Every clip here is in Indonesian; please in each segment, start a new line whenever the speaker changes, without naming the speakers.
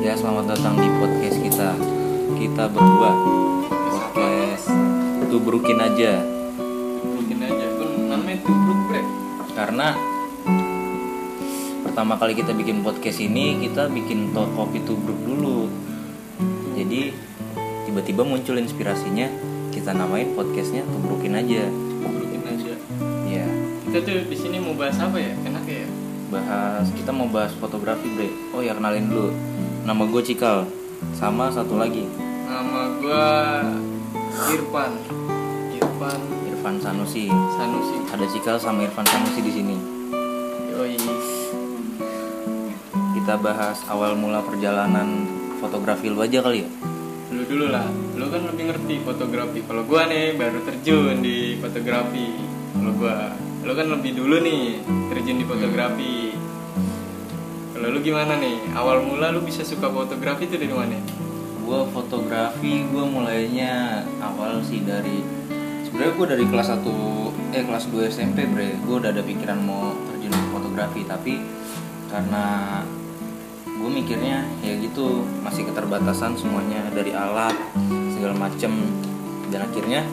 Ya selamat datang di podcast kita Kita berdua Podcast Tubrukin aja
Mungkin aja kan namanya tubruk bre
Karena Pertama kali kita bikin podcast ini Kita bikin to- kopi tubruk dulu Jadi Tiba-tiba muncul inspirasinya Kita namain podcastnya Tubrukin aja
Mungkin aja
Ya
kita tuh di sini mau bahas apa ya enak ya
bahas Kita mau bahas fotografi bre Oh ya kenalin dulu Nama gue Cikal Sama satu lagi
nama gua Irfan Irfan
Irfan Sanusi
Sanusi
Ada Cikal sama Irfan Sanusi di sini
yoi
kita bahas awal mula perjalanan fotografi lu aja kali ya
lu dulu lah lu kan lebih ngerti fotografi kalau gua nih baru terjun di fotografi kalau gua lu kan lebih dulu nih terjun di fotografi kalau lu gimana nih awal mula lu bisa suka fotografi tuh dari mana
gue fotografi gue mulainya awal sih dari sebenarnya gue dari kelas 1 eh kelas 2 SMP bre gue udah ada pikiran mau terjun ke fotografi tapi karena gue mikirnya ya gitu masih keterbatasan semuanya dari alat segala macem dan akhirnya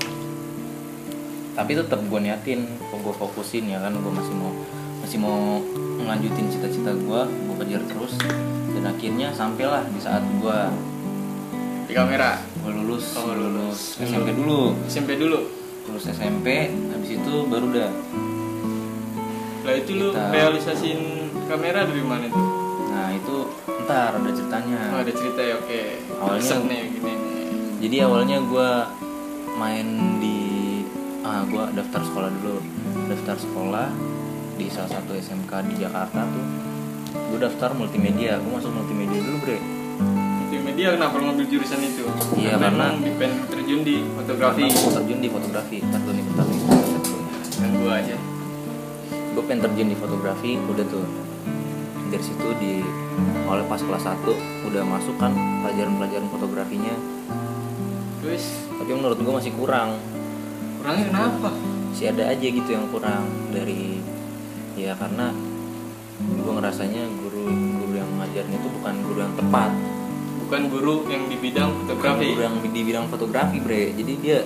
tapi tetap gue niatin gue fokusin ya kan gue masih mau masih mau ngelanjutin cita-cita gue gue kejar terus dan akhirnya sampailah di saat gue
di kamera
gue lulus
Oh,
gua
lulus.
SMP dulu
SMP dulu
lulus SMP habis itu baru udah
Lah itu lu
Kita-
realisasin kamera dari mana tuh?
nah itu ntar ada ceritanya
Oh, ada cerita ya, oke.
Awalnya-
Awalnya nih gini nih.
jadi awalnya gue main di ah gue daftar sekolah dulu daftar sekolah di salah satu SMK di Jakarta tuh gue daftar multimedia gue masuk multimedia dulu bre
Itu media kenapa lu ngambil jurusan itu?
Iya, karena-
emang pengen terjun di fotografi
Karena gua terjun di fotografi ntar gue nih bentar nih
kan gua aja.
gue pengen terjun di fotografi udah tuh dari situ di oleh pas kelas 1 udah masuk kan pelajaran-pelajaran fotografinya
Terus
tapi menurut gue masih kurang
kurangnya kenapa?
masih ada aja gitu yang kurang dari ya karena gue ngerasanya guru guru yang ngajarin itu bukan guru yang tepat
Bukan guru yang di bidang fotografi.
guru yang di bidang fotografi bre jadi dia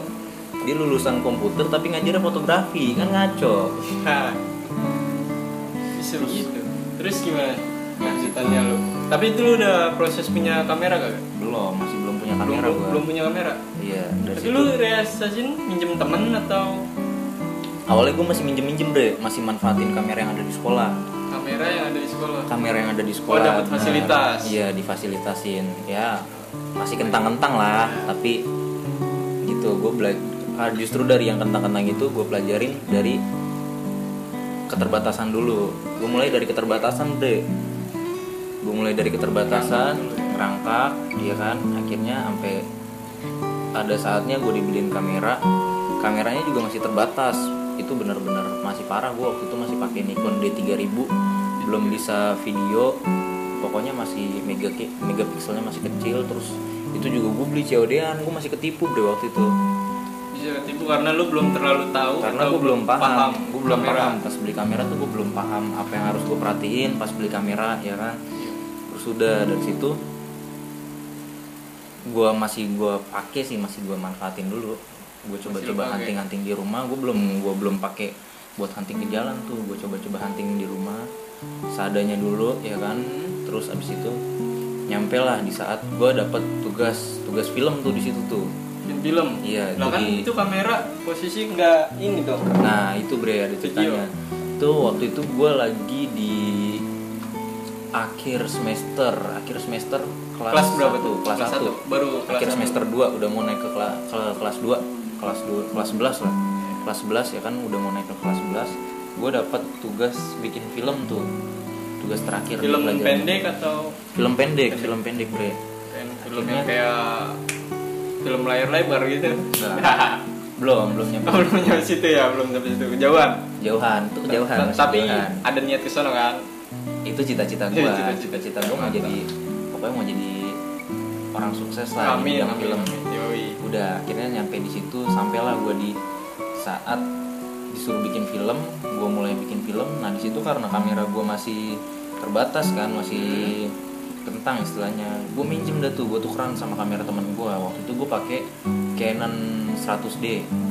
dia lulusan komputer tapi ngajarin fotografi kan ngaco
Hah. Bisa begitu. Terus gimana? Lanjutannya lu. Tapi itu lu udah proses punya kamera kagak?
belum masih belum punya
Belum,
kamera
belum
gue
punya kamera.
iya dari
Tapi
situ
lu realisasin minjem temen atau
awalnya gue masih minjem minjem bre masih manfaatin kamera yang ada di sekolah
kamera yang ada di sekolah?
kamera yang ada di sekolah
dapat
bener.
fasilitas.
iya difasilitasin ya masih kentang-kentang lah tapi gitu gue belajar justru dari yang kentang-kentang itu gue pelajarin dari keterbatasan dulu gue mulai dari keterbatasan deh gue mulai dari keterbatasan kerangka ya kan akhirnya sampai ada saatnya gue dibeliin kamera kameranya juga masih terbatas itu benar-benar masih parah gue waktu itu masih pakai Nikon D3000 belum bisa video pokoknya masih mega megapikselnya masih kecil terus itu juga gue beli COD-an gue masih ketipu bre waktu itu
bisa ketipu karena lu belum terlalu tahu
karena
atau
gue belum paham, gue belum
kamera.
paham pas beli kamera tuh gue belum paham apa yang harus gue perhatiin pas beli kamera ya kan terus udah dari situ gue masih gue pakai sih masih gue manfaatin dulu gue
lu
coba-coba
pakai.
hunting-hunting di rumah gue belum gue belum pakai buat hunting ke jalan tuh gue coba-coba hunting di rumah seadanya dulu ya kan terus abis itu nyampe lah di saat gue dapet tugas tugas film tuh di situ tuh
Bikin film
Iya,
lah kan
jadi-
itu kamera posisi nggak ini dong
Nah itu bre ada ceritanya Itu waktu itu gue lagi di akhir semester Akhir semester kelas,
Kelas berapa
satu.
tuh?
Kelas,
Kelas
1
satu. Baru kelas
Akhir
satu.
semester 2 udah mau naik ke, kela- ke kelas 2 Kelas 2, kelas 11 lah Kelas 11 ya kan udah mau naik ke kelas 11 Gue dapat tugas bikin film tuh Tugas terakhir di
film
pelajaran.
pendek atau
Film pendek, film pendek bre
kayak film yang kayak film layar lebar gitu
Nah. Belum, belum nyampe
Oh, belum nyampe situ ya belum nyampe situ kejauhan
Jauhan, tuh jauhan
Ta-
masih
tapi
jauhan.
ada niat kesana kan
itu cita-cita
Iya,
gue
cita-cita.
cita-cita gue mau
Mantap.
jadi pokoknya mau jadi orang sukses lah di
Amin,
bidang
amin,
iya, film
amin. Yoi.
udah akhirnya nyampe di situ sampailah gue di saat disuruh bikin film gue mulai bikin film nah di situ karena kamera gue masih terbatas kan masih
Hmm.
kentang istilahnya gue minjem dah tuh gue tukeran sama kamera temen gue waktu itu gue pakai Canon 100D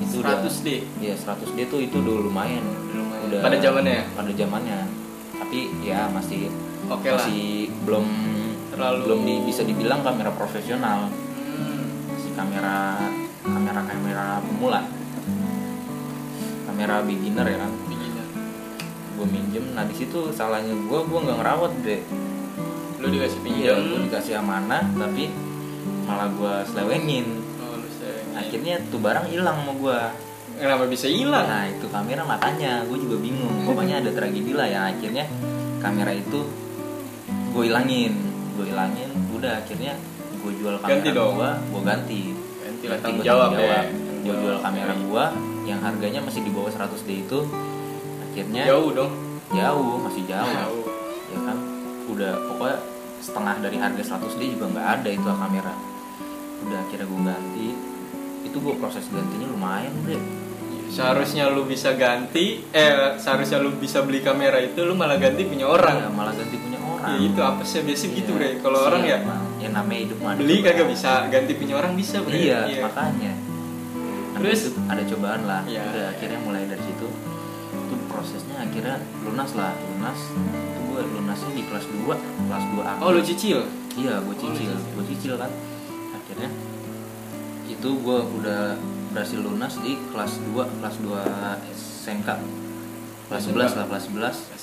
itu udah
100D.
ya 100D tuh itu udah lumayan
Lumayan. Pada zamannya? ya?
pada zamannya tapi ya masih
Oke lah.
masih belum
Terlalu-
belum di- bisa dibilang kamera profesional
Hmm.
si kamera kamera kamera pemula kamera beginner ya kan
Begini.
gue minjem nah di situ salahnya gue gue nggak ngerawat deh
Lu dikasih
iya
pinjam.
gue dikasih amanah tapi malah gue selewengin
Oh, lu sayang.
akhirnya tuh barang hilang sama gue
Kenapa bisa hilang?
nah itu kamera makanya gue juga bingung pokoknya ada tragedi lah ya akhirnya kamera itu gue hilangin gue hilangin udah akhirnya gue jual kamera
Ganti dong.
gue gue ganti
Ganti lah
Berarti
tanggung
gua
jawab ya.
Gua jual kamera gua yang harganya masih di bawah 100 d itu akhirnya
Jauh dong.
jauh, masih jauh
Jauh.
ya kan udah pokoknya setengah dari harga 100 d juga nggak ada itu kamera udah akhirnya gua ganti itu gua proses gantinya lumayan deh
Seharusnya lu bisa ganti eh seharusnya lu bisa beli kamera itu lu malah ganti punya orang.
malah ganti punya Iya, orang
Ya itu apa sih biasa gitu
Iya,
bre. Kalau orang ya
siapa? ya namanya hidup mah ada
beli
cobaan.
kagak bisa, ganti punya orang bisa bre.
iya, makanya
Terus?
terus ada cobaan lah
Iya,
udah
iya.
akhirnya mulai dari situ itu prosesnya akhirnya lunas lah lunas itu gue lunasnya di kelas 2 kelas 2 akhir
Oh lu cicil. Oh,
iya gue
lu
cicil
cicil.
gue cicil kan akhirnya itu gue udah berhasil lunas di kelas 2 kelas 2 SMK kelas 11 lah kelas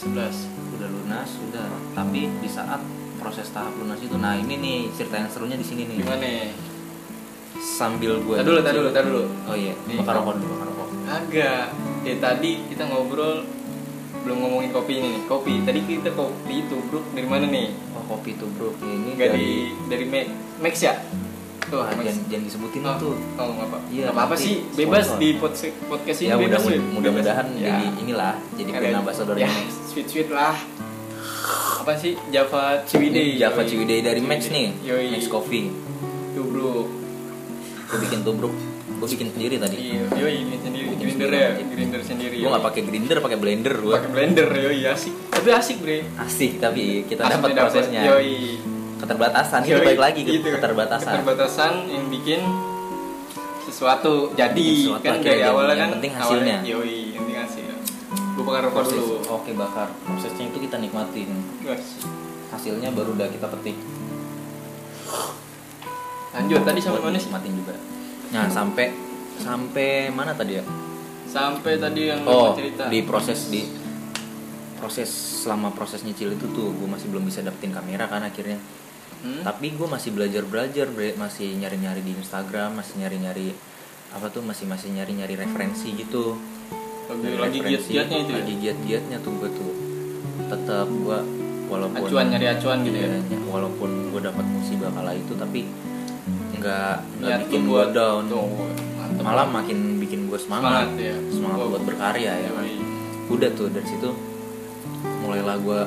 11
11.
udah lunas udah tapi di saat proses tahap lunas itu nah ini nih cerita yang serunya di sini nih
Gimana nih?
sambil gue
Tar dulu, tar dulu, tar dulu.
oh iya
Nih.
bakar rokok dulu bakar rokok
Agak. Ya tadi kita ngobrol belum ngomongin kopi ini nih. Kopi. Tadi kita kopi itu bro dari mana nih?
oh kopi tuh bro Ya, ini
Enggak
dari
dari dari Max, Max ya? Tuh,
Ah,
Max.
jangan, jangan disebutin
Oh,
tuh
Oh, nggak apa.
Iya,
Nggak apa-apa
nanti
sih, bebas
sponsor.
di podcast podcast ini
ya mudah
bebas ya.
mudah-mudahan
Bebas.
jadi inilah jadi
Kalian-
brand ambassador
ya,
Max
sweet sweet lah. Apa sih Java Ciwidey?
ini Java
Yoi.
Ciwidey dari Max nih
Yoi.
Max Coffee
Tuh bro.
gue bikin tuh bro gue bikin sendiri tadi
Iya, yoi ini sendiri
Bikin
grinder
sendiri.
ya, grinder sendiri.
gue
yoi.
nggak pakai grinder pakai blender gue
pakai blender yoi asik. Tapi asik, Bre.
asik tapi kita
Asik
dapat
dapet,
prosesnya
Yoi.
keterbatasan itu
Yoi,
balik lagi ke
gitu.
keterbatasan
Keterbatasan yang bikin sesuatu jadi
Sesuatu
kan
akhirnya
dari
jadi.
awalnya
Yang
kan
penting hasilnya.
awalnya, yoi yang penting hasil gue bakar rokok
proses
dulu
oke bakar prosesnya itu kita nikmatin
Gas.
hasilnya baru udah kita petik
lanjut tadi sampai
Buat
mana sih
nikmatin juga nah sampai sampai mana tadi ya
sampai tadi yang lu
oh
cerita
di proses di proses selama proses nyicil itu tuh gue masih belum bisa dapetin kamera kan akhirnya
Hmm?
tapi gue masih belajar belajar bre masih nyari nyari di Instagram masih nyari nyari apa tuh masih masih nyari nyari referensi gitu
lagi, lagi giat-giatnya itu ya?
lagi giat giatnya tuh gue tuh tetap gue walaupun
acuan nyari acuan gitu ya
Iya, walaupun gue dapat musibah kala itu tapi nggak nggak
Niat
bikin
lu
gue
buat-
down
Tuh, mantep.
malah makin bikin gue
semangat
semangat semangat,
ya Wow.
buat berkarya ya kan.
Yoi.
udah tuh dari situ mulailah gue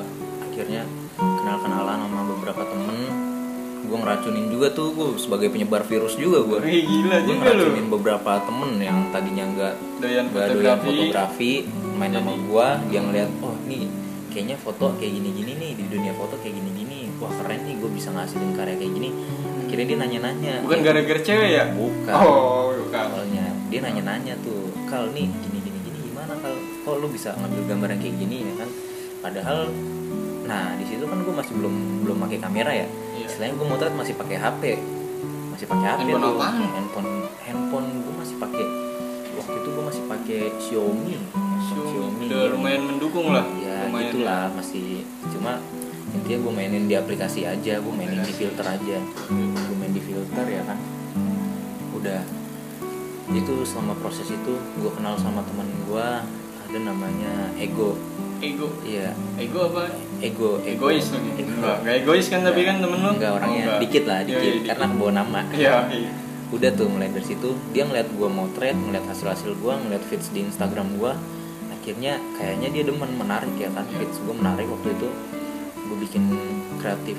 akhirnya kenal kenalan sama beberapa temen gue ngeracunin juga tuh gue sebagai penyebar virus juga gue
Wih,
gue
gila Iya juga lu
ngeracunin beberapa temen yang tadinya nggak
doyan
nggak doyan
fotografi
fotografi main sama gue dia ngeliat oh nih kayaknya foto kayak gini-gini nih di dunia foto kayak gini-gini wah keren nih gue bisa ngasilin karya kayak gini akhirnya dia nanya-nanya
Hmm.
Eh,
bukan gara-gara cewek ya
bukan
oh bukan
awalnya dia nanya-nanya tuh kal nih gini gini gini gimana kal kok lu bisa ngambil gambaran kayak gini ya kan padahal nah di situ kan gue masih belum belum pakai kamera ya
Iya.
istilahnya gue motret masih pakai HP masih pakai HP
Handphone
tuh
apaan?
handphone handphone gue masih pakai waktu itu gue masih pakai Xiaomi handphone Xiaomi
udah lumayan mendukung lah
ya
lumayan
gitulah masih cuma intinya gue mainin di aplikasi aja gue mainin di filter aja gue main di filter ya kan udah itu selama proses itu gue kenal sama teman gue ada namanya ego
ego
iya
ego apa
ego ego
egois tuh gitu.
Ego.
Enggak, enggak egois kan tapi kan temen lu Iya,
enggak orangnya dikit lah dikit karena bawa nama
ya
udah tuh mulai dari situ dia ngeliat gue motret ngeliat hasil hasil gue ngeliat feeds di Instagram gue akhirnya kayaknya dia demen menarik ya kan
Iya.
feeds gue menarik waktu itu gue bikin kreatif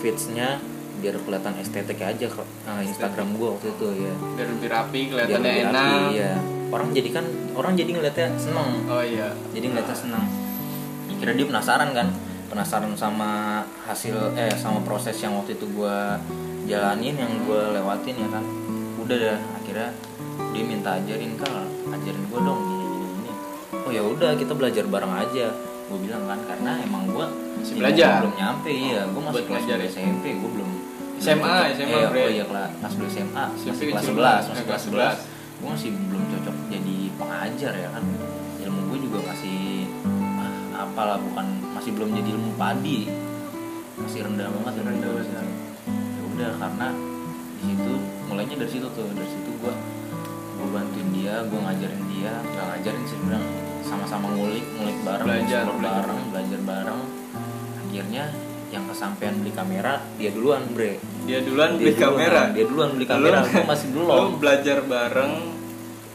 feedsnya biar kelihatan estetik aja ke- ah, Instagram gue waktu itu ya
biar lebih rapi
Biar
kelihatannya
lebih rapi,
enak
iya. orang jadi kan orang jadi ngeliatnya seneng
oh iya
jadi ngeliatnya senang kira dia penasaran kan penasaran sama hasil eh sama proses yang waktu itu gua jalanin yang gua lewatin ya kan udah dah akhirnya dia minta ajarin kal ajarin gua dong gini gini gini oh ya udah kita belajar bareng aja gue bilang kan karena emang gua
Masih
di
belajar.
umur belum nyampe iya gua masih
Buat
kelas
belajar
2
ya.
SMP gua belum belum
SMA,
cocok.
SMA,
eh,
Bre.
oh iya kela- kelas 2 SMA
SMP
masih kelas
kecil
11
banget.
masih
Eh,
kelas
kelas
11 gue masih belum cocok jadi pengajar ya kan ilmu gue juga masih ah, apalah bukan masih belum jadi ilmu padi masih rendah banget
Masih
ilmu
rendah
gua.
banget.
ya udah karena di situ mulainya dari situ tuh dari situ gue gue bantuin dia gue ngajarin dia nggak ngajarin sih bilang sama-sama ngulik ngulik bareng
Belajar,
explore
belajar.
bareng belajar bareng akhirnya yang kesampaian beli kamera dia duluan bre
dia duluan
Dia
beli
duluan,
kamera
dia duluan beli
Lu-
kamera gue masih belum
lu belajar bareng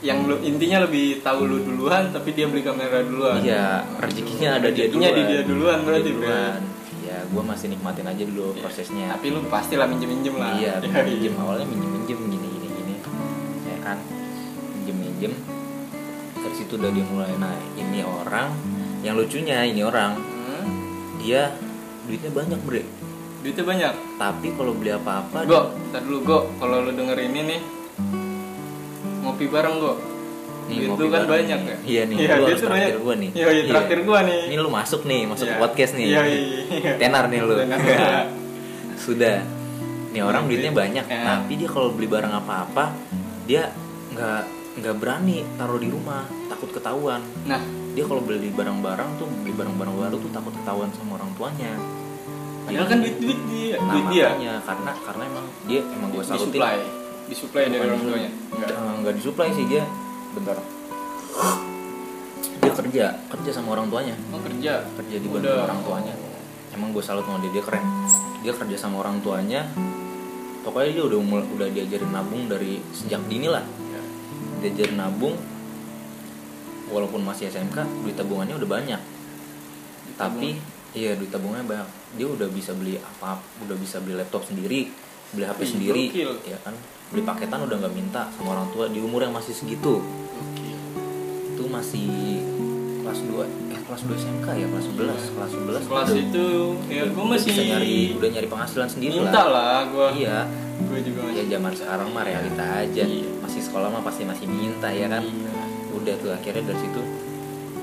yang lu intinya lebih tahu lu duluan tapi dia beli kamera duluan
Iya, rezekinya ada dia
Rezekinya
duluan.
di dia duluan berarti,
Dia
Bro.
duluan. Iya, gua masih nikmatin aja dulu prosesnya.
tapi lu pastilah minjem minjem lah
Iya,
Ya,
minjem awalnya minjem minjem gini gini gini, ya kan, minjem minjem. Dari situ udah dia mulai nah ini orang, yang lucunya ini orang
Hmm,
dia duitnya banyak bre,
duitnya banyak
tapi kalau beli apa-apa
go ntar dulu go kalau lu denger ini nih ngopi bareng go
Nih,
duit
ngopi
lu kan
bareng
banyak
nih.
ya
Iya nih, lu
iya, duit
harus
tuh
traktir
banyak.
gua nih.
iya, iya
Iya.
traktir gua nih
ini lu masuk nih, masuk
Iya.
ke podcast nih.
iya, iya.
Tenar nih lu.
Tenar.
Sudah. Nih orang duitnya banyak,
Eh.
tapi dia kalau beli barang apa-apa dia nggak nggak berani taruh di rumah, takut ketahuan.
nah
Dia kalau beli barang-barang tuh beli barang-barang baru tuh takut ketahuan sama orang tuanya.
padahal kan duit duit dia
Nah,
duit dia
makanya, karena karena emang dia emang gue salutin
disuplai disuplai dari
Bukan
orang
disuplai.
tuanya Enggak.
Eh, nggak disuplai sih dia. Bentar. Dia kerja kerja sama orang tuanya.
mau Oh, kerja
kerja di bantu
Udah.
Iya, orang tuanya emang gue salut sama dia dia keren dia kerja sama orang tuanya pokoknya dia udah mul- udah diajarin nabung dari sejak dini lah
Ya.
diajarin nabung walaupun masih SMK duit tabungannya udah banyak tapi iya duit tabungannya banyak dia udah bisa beli apa udah bisa beli laptop sendiri beli HP
Ih,
sendiri
gokil.
ya kan beli paketan udah nggak minta sama orang tua di umur yang masih segitu
Gokil.
itu masih kelas 2 eh kelas 2 SMK ya kelas
Iya.
11 kelas 11
kelas
udah-
itu ya
udah-
gue
udah
masih
bisa nyari udah nyari penghasilan sendiri
minta
lah
lah gue
iya
gue juga
ya
masih
zaman sekarang mah realita aja
Iya.
masih sekolah mah pasti masih minta ya kan
Iya.
udah tuh akhirnya dari situ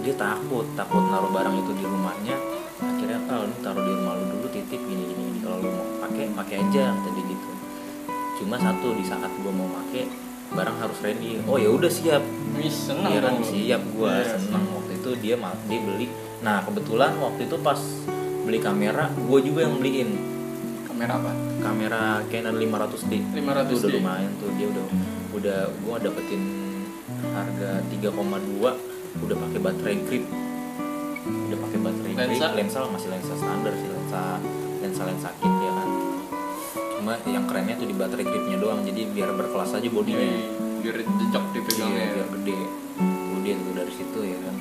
dia takut takut naruh barang itu di rumahnya akhirnya kalau lu taruh di rumah lu dulu titip gini gini, gini. kalau lu mau pakai pakai aja tadi gitu cuma satu di saat gua mau pakai barang harus ready oh ya udah siap
Wih, seneng
Iya kan
dong lu.
siap gua
Iya.
seneng waktu itu dia ma- dia beli. Nah kebetulan waktu itu pas beli kamera, gua juga yang beliin
kamera apa
kamera Canon 500D.
500D.
Itu udah lumayan tuh dia udah udah gua dapetin harga 3,2 udah pakai baterai grip udah pakai baterai
Lensa?
grip lensa masih lensa standar sih lensa lensa lensa kit ya kan cuma yang kerennya tuh di baterai gripnya doang jadi biar berkelas aja bodinya
Iya, biar jejak dipegangnya
Iya, biar gede. Kemudian tuh dari situ ya kan.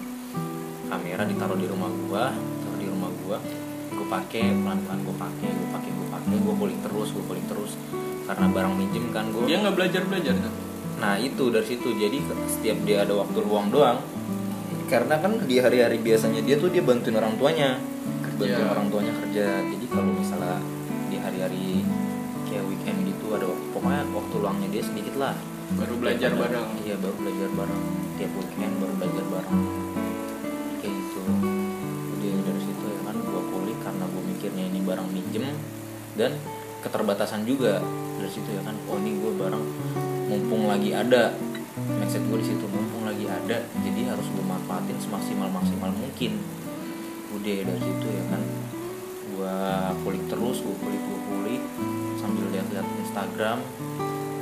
Kamera ditaruh di rumah gua, taruh di rumah gua. Gua pakai pelan-pelan gua pakai, gua pakai, gua pakai, gua kulik terus, gua kulik terus. Karena barang minjem kan gua.
dia nggak kan? belajar belajar tuh
Nah, itu dari situ. Jadi setiap dia ada waktu luang doang karena kan di hari-hari biasanya dia tuh dia bantuin orang tuanya bantuin
Kerja.
orang tuanya kerja jadi kalau misalnya di hari-hari kayak weekend gitu ada waktu pokoknya waktu luangnya dia sedikit lah
baru belajar bareng
iya baru belajar bareng tiap weekend baru belajar bareng kayak gitu udah dari situ ya kan gua kulik karena gua mikirnya ini barang minjem dan keterbatasan juga dari situ ya kan oh ini gua barang mumpung lagi ada mindset gua di situ mumpung lagi ada jadi harus gua manfaatin semaksimal maksimal mungkin udah dari situ ya kan gua kulik terus gua kulik gua kulik sambil lihat-lihat Instagram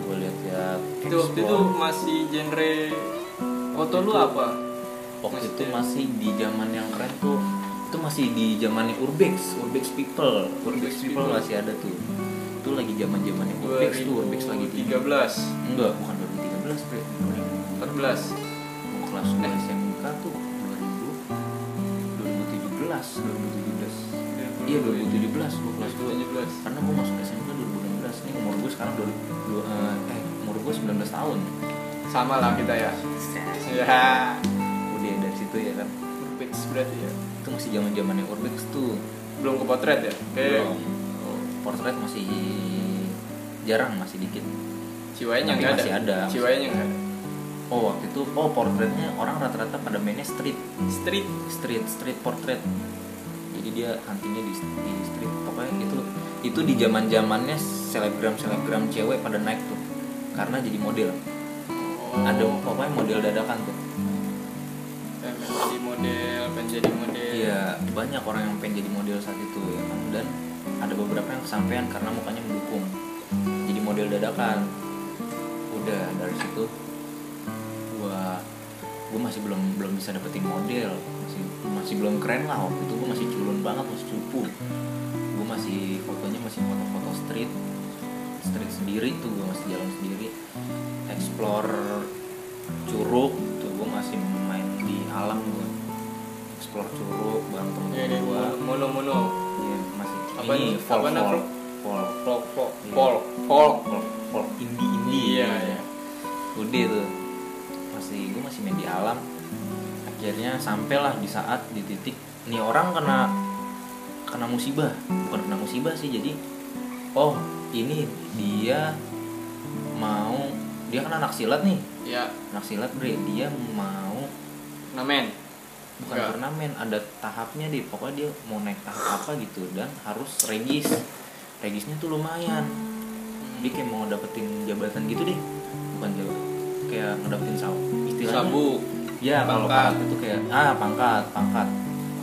gua lihat-lihat
itu waktu itu
explore
masih genre foto lu apa
waktu
Masih
itu
kayak-
masih di zaman yang keren tuh itu masih di zamannya urbex urbex people urbex
Urbex
people
People.
masih ada tuh itu lagi zaman zamannya urbex tuh urbex lagi tiga
2013
enggak bukan 2013 bre 2014
14
Eh. mau kelas 2 SMK tuh 2000 2017 2017 iya 2017 gue kelas 2
2017
karena gue masuk SMK 2016 nih umur gue sekarang 20, dua- eh, eh umur gue 19 tahun
sama lah kita ya ya
udah dari situ ya kan
Urbex berarti ya
itu masih zaman zamannya urbex tuh
belum ke potret ya kayak
Belum. Oh, portrait masih jarang masih dikit
ciwanya
Tapi
nggak ada
masih ada.
ciwanya nggak ada
oh waktu itu oh portraitnya orang rata-rata pada mainnya street
street
street street portrait jadi dia huntingnya di, di street pokoknya itu itu di zaman zamannya selebgram selebgram cewek pada naik tuh karena jadi model ada pokoknya model dadakan tuh
Oh, pengen jadi model pengen jadi model
Iya, banyak orang yang pengen jadi model saat itu ya kan dan ada beberapa yang kesampaian karena mukanya mendukung. Jadi model dadakan. Udah dari situ gua gua masih belum belum bisa dapetin model, masih masih belum keren lah waktu itu gua masih culun banget, masih cupu. Gua masih fotonya masih foto-foto street street sendiri tuh gua masih jalan sendiri explore curug tuh gua masih main di alam gua explore curug bareng
Iya,
temen
deh,
gua
mono mono
Iya, masih
Apa
ini
nih?
folk
Apa
folk
namanya?
folk
folk folk
Iya.
folk folk
folk folk indie indie
iya ya
udah tuh masih gue masih main di alam akhirnya sampailah di saat di titik nih orang kena kena musibah bukan kena musibah sih jadi oh ini dia mau dia kan anak silat nih
ya
anak silat bre dia mau
namen
bukan
Enggak.
turnamen ada tahapnya deh pokoknya dia mau naik tahap apa gitu dan harus regis regisnya tuh lumayan dia kayak mau dapetin jabatan gitu deh bukan jabatan kayak ngedapetin saw istilahnya
sabu
ya kalau
Pangkat.
pangkat itu kayak ah pangkat pangkat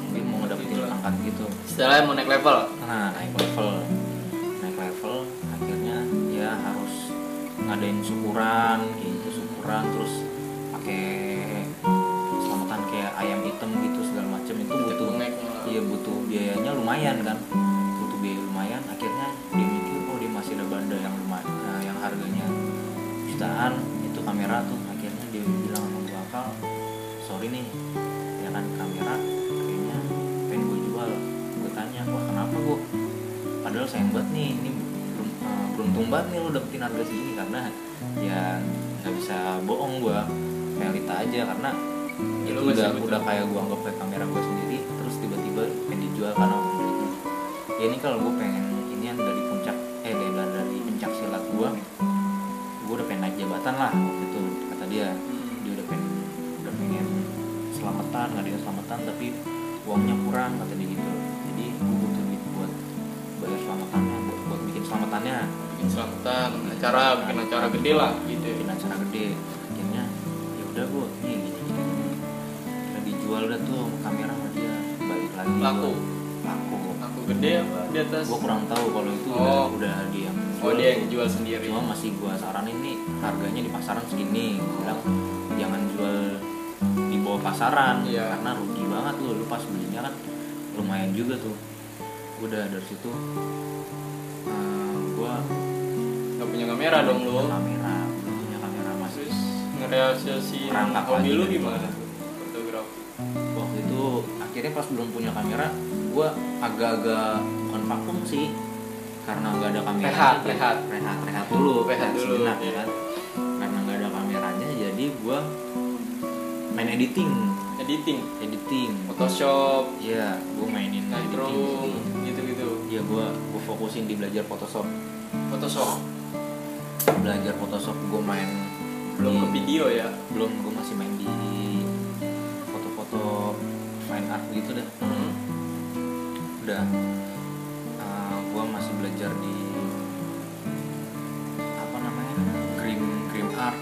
mungkin mau
Gitu
ngedapetin
lah.
pangkat gitu
istilahnya mau naik level
nah naik level naik level akhirnya ya harus ngadain syukuran kayak gitu syukuran terus pakai selamatan kayak ayam hitam gitu segala macam itu butuh
naik
iya butuh biayanya lumayan kan butuh biaya lumayan akhirnya dia mikir oh dia masih ada benda yang lumayan nah, yang harganya jutaan itu kamera tuh akhirnya dia bilang sama gua akal sorry nih ya kan kamera kayaknya pengen gue jual gue tanya wah kenapa gua padahal sayang banget nih ini belum eh, beruntung banget nih lo dapetin harga segini karena ya nggak bisa bohong gua realita aja karena itu
Ya, lu masih
udah
butuh.
udah kayak gue anggap kayak kamera gue sendiri terus tiba-tiba pengen dijual karena pemiliknya ya ini kalau gue pengen ini dari puncak eh dari dari puncak silat gue gue udah pengen naik jabatan lah waktu itu kata dia dia udah pengen udah pengen selamatan nggak ada selamatan tapi uangnya kurang kata dia gitu jadi gue butuh duit buat bayar selamatannya buat, buat bikin selamatannya
bikin selamatan acara bikin acara gede lah gitu
bikin acara gede akhirnya ya udah gue ini gini gini Akhirnya dijual dah tuh sama kamera sama dia balik lagi
Laku.
gua- laku
aku gede apa di atas
gue kurang tahu kalau itu
Oh.
udah udah dia yang
oh dia yang
tuh.
jual sendiri
cuma masih gue saranin nih harganya di pasaran segini Gua bilang jangan jual di bawah pasaran
Iya.
karena rugi banget lu lu pas belinya kan lumayan juga tuh udah dari situ gue
nggak punya kamera dong lu
kamera gua punya kamera masih
terus ngerealisasiin
Merangkak
hobi
lagi
lu
dari
gimana
bawah.
tuh? fotografi
waktu itu akhirnya pas belum punya kamera gue agak-agak bukan vakum sih karena nggak ada kamera
Rehat,
jadi-
rehat.
rehat rehat dulu
Rehat dulu,
sejenak,
iya.
kan. karena nggak ada kameranya jadi gue main editing
editing
editing
Photoshop
iya gue mainin editing gitu.
Lightroom gitu-gitu
iya gue gue fokusin di belajar Photoshop
Photoshop
belajar Photoshop gue main
belum
di-
ke video ya
belum gue masih main di foto-foto fine art gitu deh udah eh, gua masih belajar di apa namanya cream cream art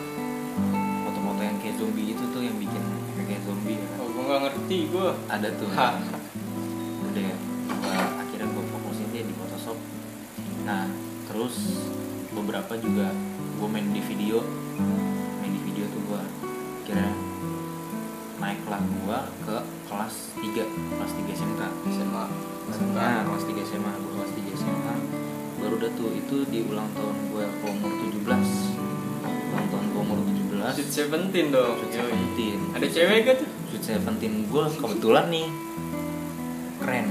foto-foto yang kayak zombie itu tuh yang bikin efek kayak zombie ya kan?
oh gue nggak ngerti gue
ada tuh
Ha.
udah ya gua, akhirnya gue fokusin dia di Photoshop nah terus beberapa juga gue main di video main di video tuh gue kira naiklah gue ke kelas 3 kelas 3 SMK
SMA Hmm.
Nah, kelas 3 SMA, gue kelas 3 SMA Baru udah tuh, itu di ulang tahun gue ke umur 17 Ulang tahun gue umur 17
Sweet Seventeen dong
Sweet
yoi.
17
ada cewek gak tuh
Sweet 17 gue kebetulan nih keren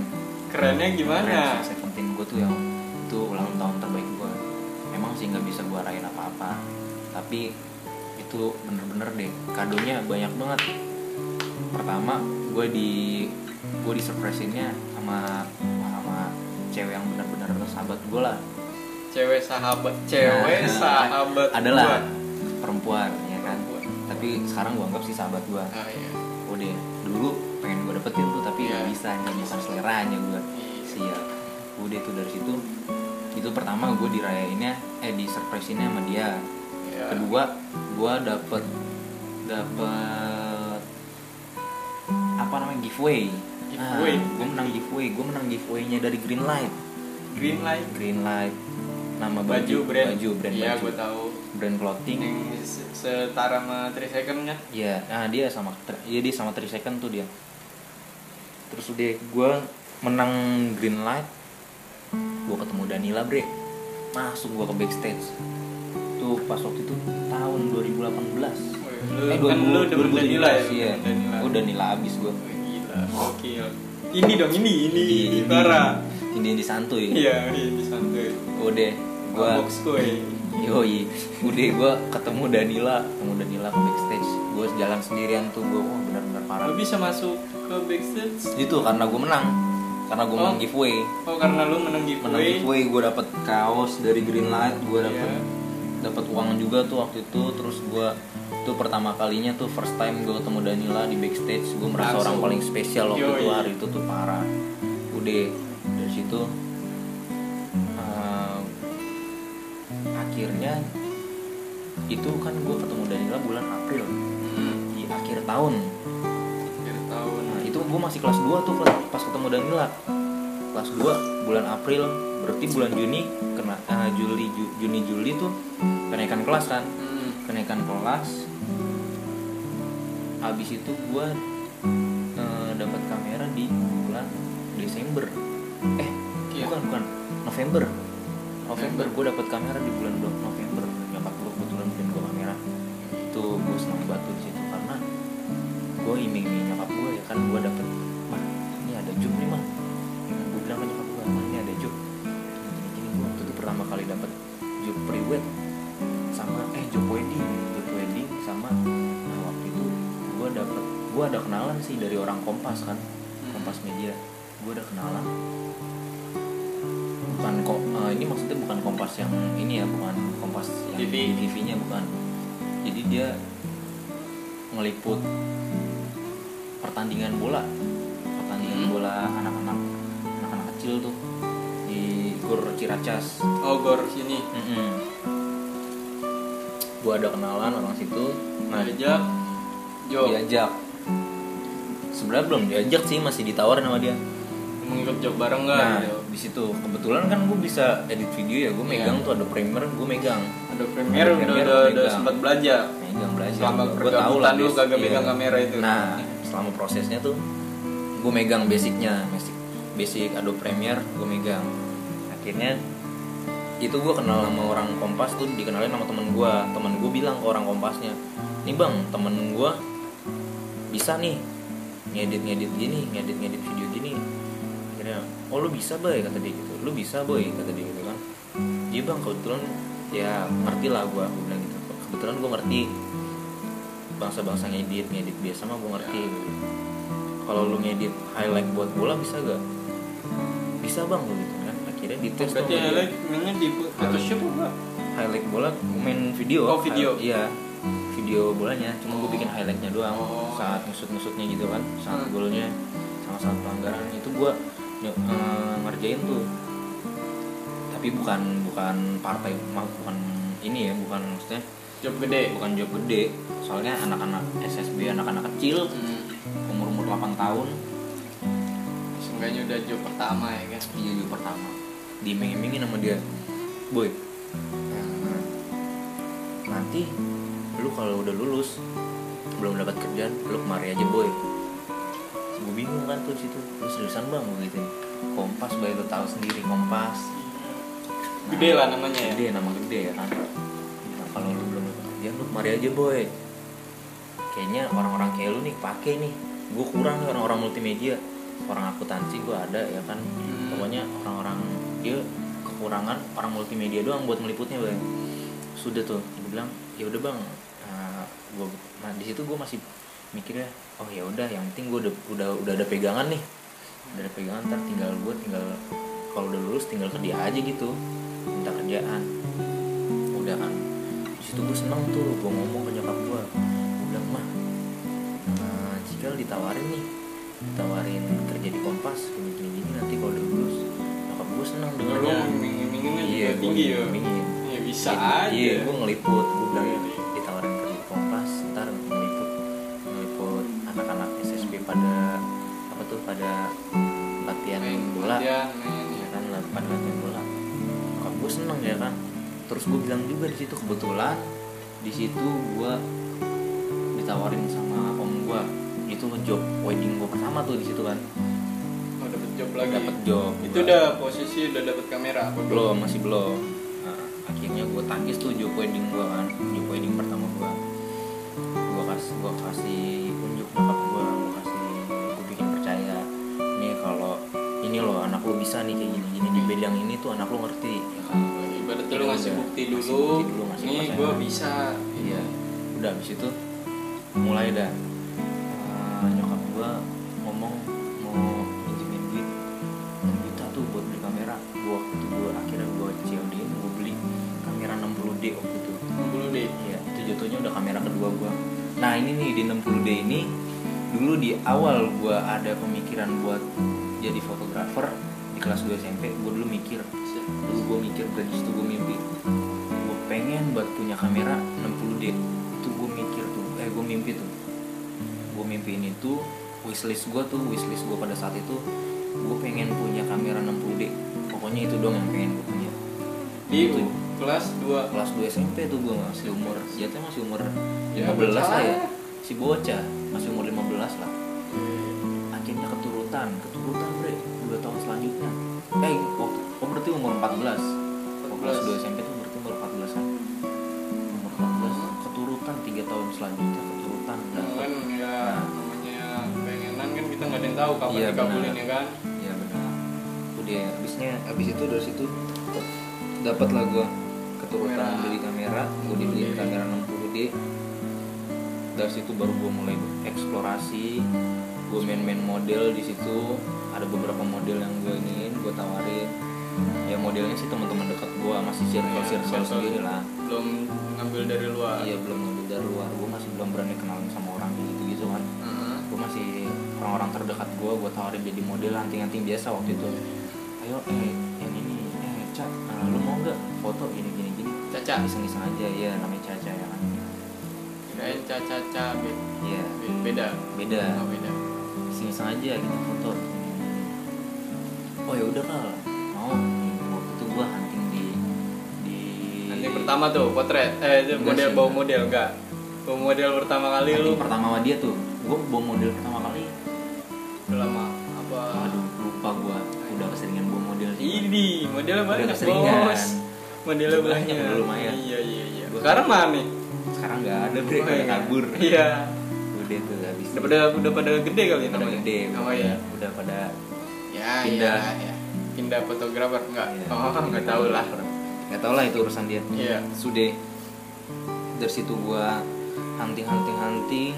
kerennya gimana
keren Seventeen gue tuh yang itu ulang tahun terbaik gue memang sih nggak bisa gue rayain apa-apa tapi itu bener-bener deh kadonya banyak banget pertama gue di gue disurpresinnya sama sama cewek yang benar-benar sahabat gue lah
cewek sahabat cewek
Nah,
sahabat
adalah
gua.
perempuan ya kan
Perempuan.
tapi sekarang gue anggap sih sahabat gue
ah, iya.
udah dulu pengen gue dapetin tuh tapi nggak
Iya.
bisa nggak bukan seleranya gue
Iya.
sial udah tuh dari situ itu pertama gue dirayainnya eh di surprisinnya sama dia
Iya.
kedua gue dapet dapet apa namanya giveaway
Giveaway.
gue menang giveaway gue menang giveaway-nya dari Greenlight
green light
Greenlight nama
baju
baju
brand
baju brand
iya
baju.
gue tahu
brand clothing
yang se- setara sama 3 second kan
Iya, nah dia sama ya dia sama 3 second tuh dia. Terus udah gue menang green light, gue ketemu Danila bre, masuk gue ke backstage. Tuh pas waktu itu tahun 2018.
Wih, lu, kan lu demen Danila ya
Iya,
demen Danila.
gue Danila abis gue.
Wih, gila gokil ini dong ini ini ini Tara
Ini yang disantuy.
iya ini santuy
Udah, gue
box kue
Yoi, udah gue ketemu Danila, ketemu Danila ke backstage. Gue jalan sendirian tuh gue, wah benar-benar parah.
lu bisa masuk ke backstage
itu karena gue menang karena gue
Oh.
menang giveaway
oh karena lu menang
menang
giveaway
giveaway gue dapet kaos dari Greenlight gue dapet
Iya.
dapet uang juga tuh waktu itu terus gue itu pertama kalinya tuh first time gue ketemu Danila di backstage gue merasa
Langsung.
orang paling spesial waktu itu
Yoi.
hari itu tuh parah udah dari situ eh, akhirnya itu kan gue ketemu Danila bulan April
Hmm,
di akhir tahun
akhir tahun
Nah itu gue masih kelas 2 tuh kelas- pas ketemu Danila Kelas 2 bulan April berarti bulan Juni kena eh, Juli Ju- Juni Juli tuh kenaikan kelas kan
Hmm,
kenaikan kelas habis itu gue dapat kamera di bulan Desember eh
Iya.
bukan bukan November November gue dapat kamera di bulan do- November nyokap gue kebetulan bikin gue kamera itu gue senang banget tuh di situ karena gue iming iming nyokap gue ya kan gue dapet mah ini ada job nih mah gue bilang ke nyokap gue mah ini ada job gini gini gue waktu itu pertama kali dapet job prewed sama eh job wedding job wedding sama nah waktu itu gue dapet gue ada kenalan sih dari orang kompas kan kompas media gue ada kenalan bukan kok ini maksudnya bukan kompas yang ini ya bukan kompas yang
TV.
nya bukan jadi dia ngeliput pertandingan bola pertandingan
Hmm.
bola anak-anak anak-anak kecil tuh di Gor Ciracas
oh gor sini
mm Gua ada kenalan orang situ. Nah, Iya.
diajak Jo
diajak. Sebenarnya belum diajak sih, masih ditawarin sama dia.
mengikut job bareng nggak
Nah,
Jo?
di situ kebetulan kan gue bisa edit video ya, gue
Iya.
megang tuh ada primer, gue megang,
ada premier
Ada
udah
Premiere,
udah, udah
megang.
sempat belajar
megang belajar.
selama
Gua- gua tahu
pergaulan lu
basic-
kagak
iya.
megang kamera itu
Nah, selama prosesnya tuh gue megang basicnya, basic, basic Adobe Premiere gue megang. Akhirnya itu gue kenal sama orang Kompas tuh dikenalin sama temen gue, temen gue bilang ke orang Kompasnya, nih bang temen gue bisa nih ngedit ngedit gini, ngedit ngedit video gini. Akhirnya, oh lu bisa boy kata dia gitu, lu bisa boy kata dia gitu kan. Iya bang kebetulan ya ngerti lah gue, gue bilang gitu. Kebetulan gue ngerti bangsa-bangsa ngedit ngedit biasa mah gue ngerti kalau lu ngedit highlight buat bola bisa gak bisa bang gue gitu kan akhirnya dites tuh
berarti
sama dia.
Alex Nah. mainnya di Photoshop apa
highlight bola main video
Oh,
Hi-
video.
iya video bolanya cuma gue bikin highlightnya doang
Oh.
saat nusut-nusutnya gitu kan saat
Hmm.
golnya sama saat pelanggaran itu gue ny- eh, ngerjain tuh tapi bukan bukan partai bukan ini ya bukan maksudnya
job gede
bukan job gede soalnya anak-anak SSB anak-anak kecil
Hmm,
umur umur 8 tahun
seenggaknya udah job pertama ya kan
dia juga pertama dimemingin sama dia boy eh, nanti lu kalau udah lulus belum dapat kerjaan lu kemari aja boy gue bingung kan tuh di situ lu seriusan bang gue gitu kompas boy lu tahu sendiri kompas
gede lah namanya ya
gede nama gede ya kan Bilang, kalau lu belum dapat kerjaan lu kemari aja boy kayaknya orang-orang kayak lu nih pakai nih gue kurang nih orang-orang multimedia orang akuntansi gue ada ya kan
Hmm.
pokoknya orang-orang dia kekurangan orang multimedia doang buat meliputnya bang sudah tuh gue bilang ya udah bang eh, gua, nah, di situ gue masih mikirnya oh ya udah yang penting gue udah udah udah ada pegangan nih udah ada pegangan ntar tinggal gue tinggal kalau udah lulus tinggal kerja aja gitu minta kerjaan udah kan di situ gue seneng tuh gue ngomong ke nyokap gue gue bilang mah eh, Cikal ditawarin nih ditawarin kerja di Kompas gini gini, gini nanti kalau udah lulus nyokap gue seneng
Lu
dengarnya
iming-iminginnya
iya
juga
gue
tinggi ya.
ngimingin.
Ya bisa
Jadi,
aja.
iya gue ngeliput gue bilang
Iya, iya.
ditawarin kerja di Kompas ntar ngeliput ngeliput anak-anak SSB pada apa tuh pada latihan
Main
bola
latihan, main,
ya
ya.
kan latihan latihan bola Nyokap gue seneng ya kan terus gue bilang juga di situ kebetulan di situ gue ditawarin sama om gue itu ngejob wedding gue pertama tuh di situ kan
Oh, dapet job lagi.
dapat job
Itu
gua.
udah posisi udah dapet kamera apa
belum masih belum Nah, akhirnya gue tangkis tuh job wedding gue kan job wedding pertama gue gue kasih gue kasih unjuk nyokap gue gue kasih gue bikin percaya nih kalau ini loh anak lo bisa nih kayak gini gini di bidang ini tuh anak lo ngerti ya kan
Ibaratnya lu
Iya,
ngasih
udah.
bukti
Ngasih
dulu.
bukti dulu, ngasih
Nih
kepercayaan.
gue bisa.
Iya. Udah abis itu mulai dah Eh, nyokap gua ngomong mau pinjemin duit 6 juta tuh buat beli kamera. Gua waktu itu gua akhirnya gua COD gua beli kamera 60D waktu itu.
Dulu deh.
Iya, itu jatuhnya udah kamera kedua gua. Nah, ini nih di 60D ini dulu di awal gua ada pemikiran buat jadi fotografer di kelas 2 SMP, gua dulu mikir dulu gue mikir dan disitu gue mimpi gue pengen buat punya kamera 60D itu gue mikir tuh eh gue mimpi tuh gue mimpiin itu wishlist gue tuh wishlist gue pada saat itu gue pengen punya kamera 60D pokoknya itu dong yang pengen gue punya
Di
Itu.
kelas 2
kelas 2 SMP tuh gue masih umur jatuhnya masih umur
Ya,
15 lah ya
bocah.
si bocah masih umur 15 lah akhirnya keturutan keturutan bre dua tahun selanjutnya eh waktu oh berarti umur 14 Waktu kelas 2 SMP itu berarti umur 14 an umur 14 keturutan tiga tahun selanjutnya keturutan
kan
dapat
ya namanya pengenan kan kita nggak ada yang tahu kapan
Iya,
dikabulin
benar.
ya kan.
iya benar udah abisnya abis itu dari situ dapat lah gua keturutan
Kamera.
beli kamera gua dibeliin
Oke.
kamera 60D dari situ baru gua mulai eksplorasi gua main-main model di situ ada beberapa model yang gua iniin gua tawarin ya modelnya sih teman-teman dekat gua masih circle
Iya,
circle
circle.
sendiri lah
Belum ngambil dari luar.
iya belum ngambil dari luar gua masih belum berani kenalan sama orang gitu gitu kan
Heeh.
gue masih orang-orang terdekat gue gue tawarin jadi model anting-anting biasa waktu itu ayo eh yang ini eh cat eh, lu mau nggak foto gini gini gini
Caca.
iseng-iseng aja ya namanya caca ya kan
Kirain caca caca be-
iya
be- beda.
beda
Oh, beda.
iseng-iseng aja kita foto gini, gini. oh ya udah kal mau waktu itu gue hunting di di
Nanti pertama tuh potret. Eh itu
Enggak
model
sih,
bawa
enggak.
model enggak. Bawa model pertama kali
hunting
lu
pertama sama dia tuh gue bawa model pertama kali
udah lama apa?
aduh lupa gue udah keseringan bawa model sih
Ini modelnya
Udah
banyak
keseringan.
bos. Modelnya
Jumlahnya
banyak.
udah lumayan.
Iya iya iya.
Gua-
Sekarang mana nih?
sekarang nggak ada bre
Oh,
udah
iya.
kabur
Iya.
udah tuh habis
Udah pada udah pada gede kali
udah
namanya.
gede
Oh
udah,
iya.
udah pada
Ya,
Pindah.
ya, ya. Pindah fotografer enggak?
Iya.
Oh, enggak tahu lah.
nggak tau lah itu urusan dia
Iya.
sudah dari situ gua hunting hunting hunting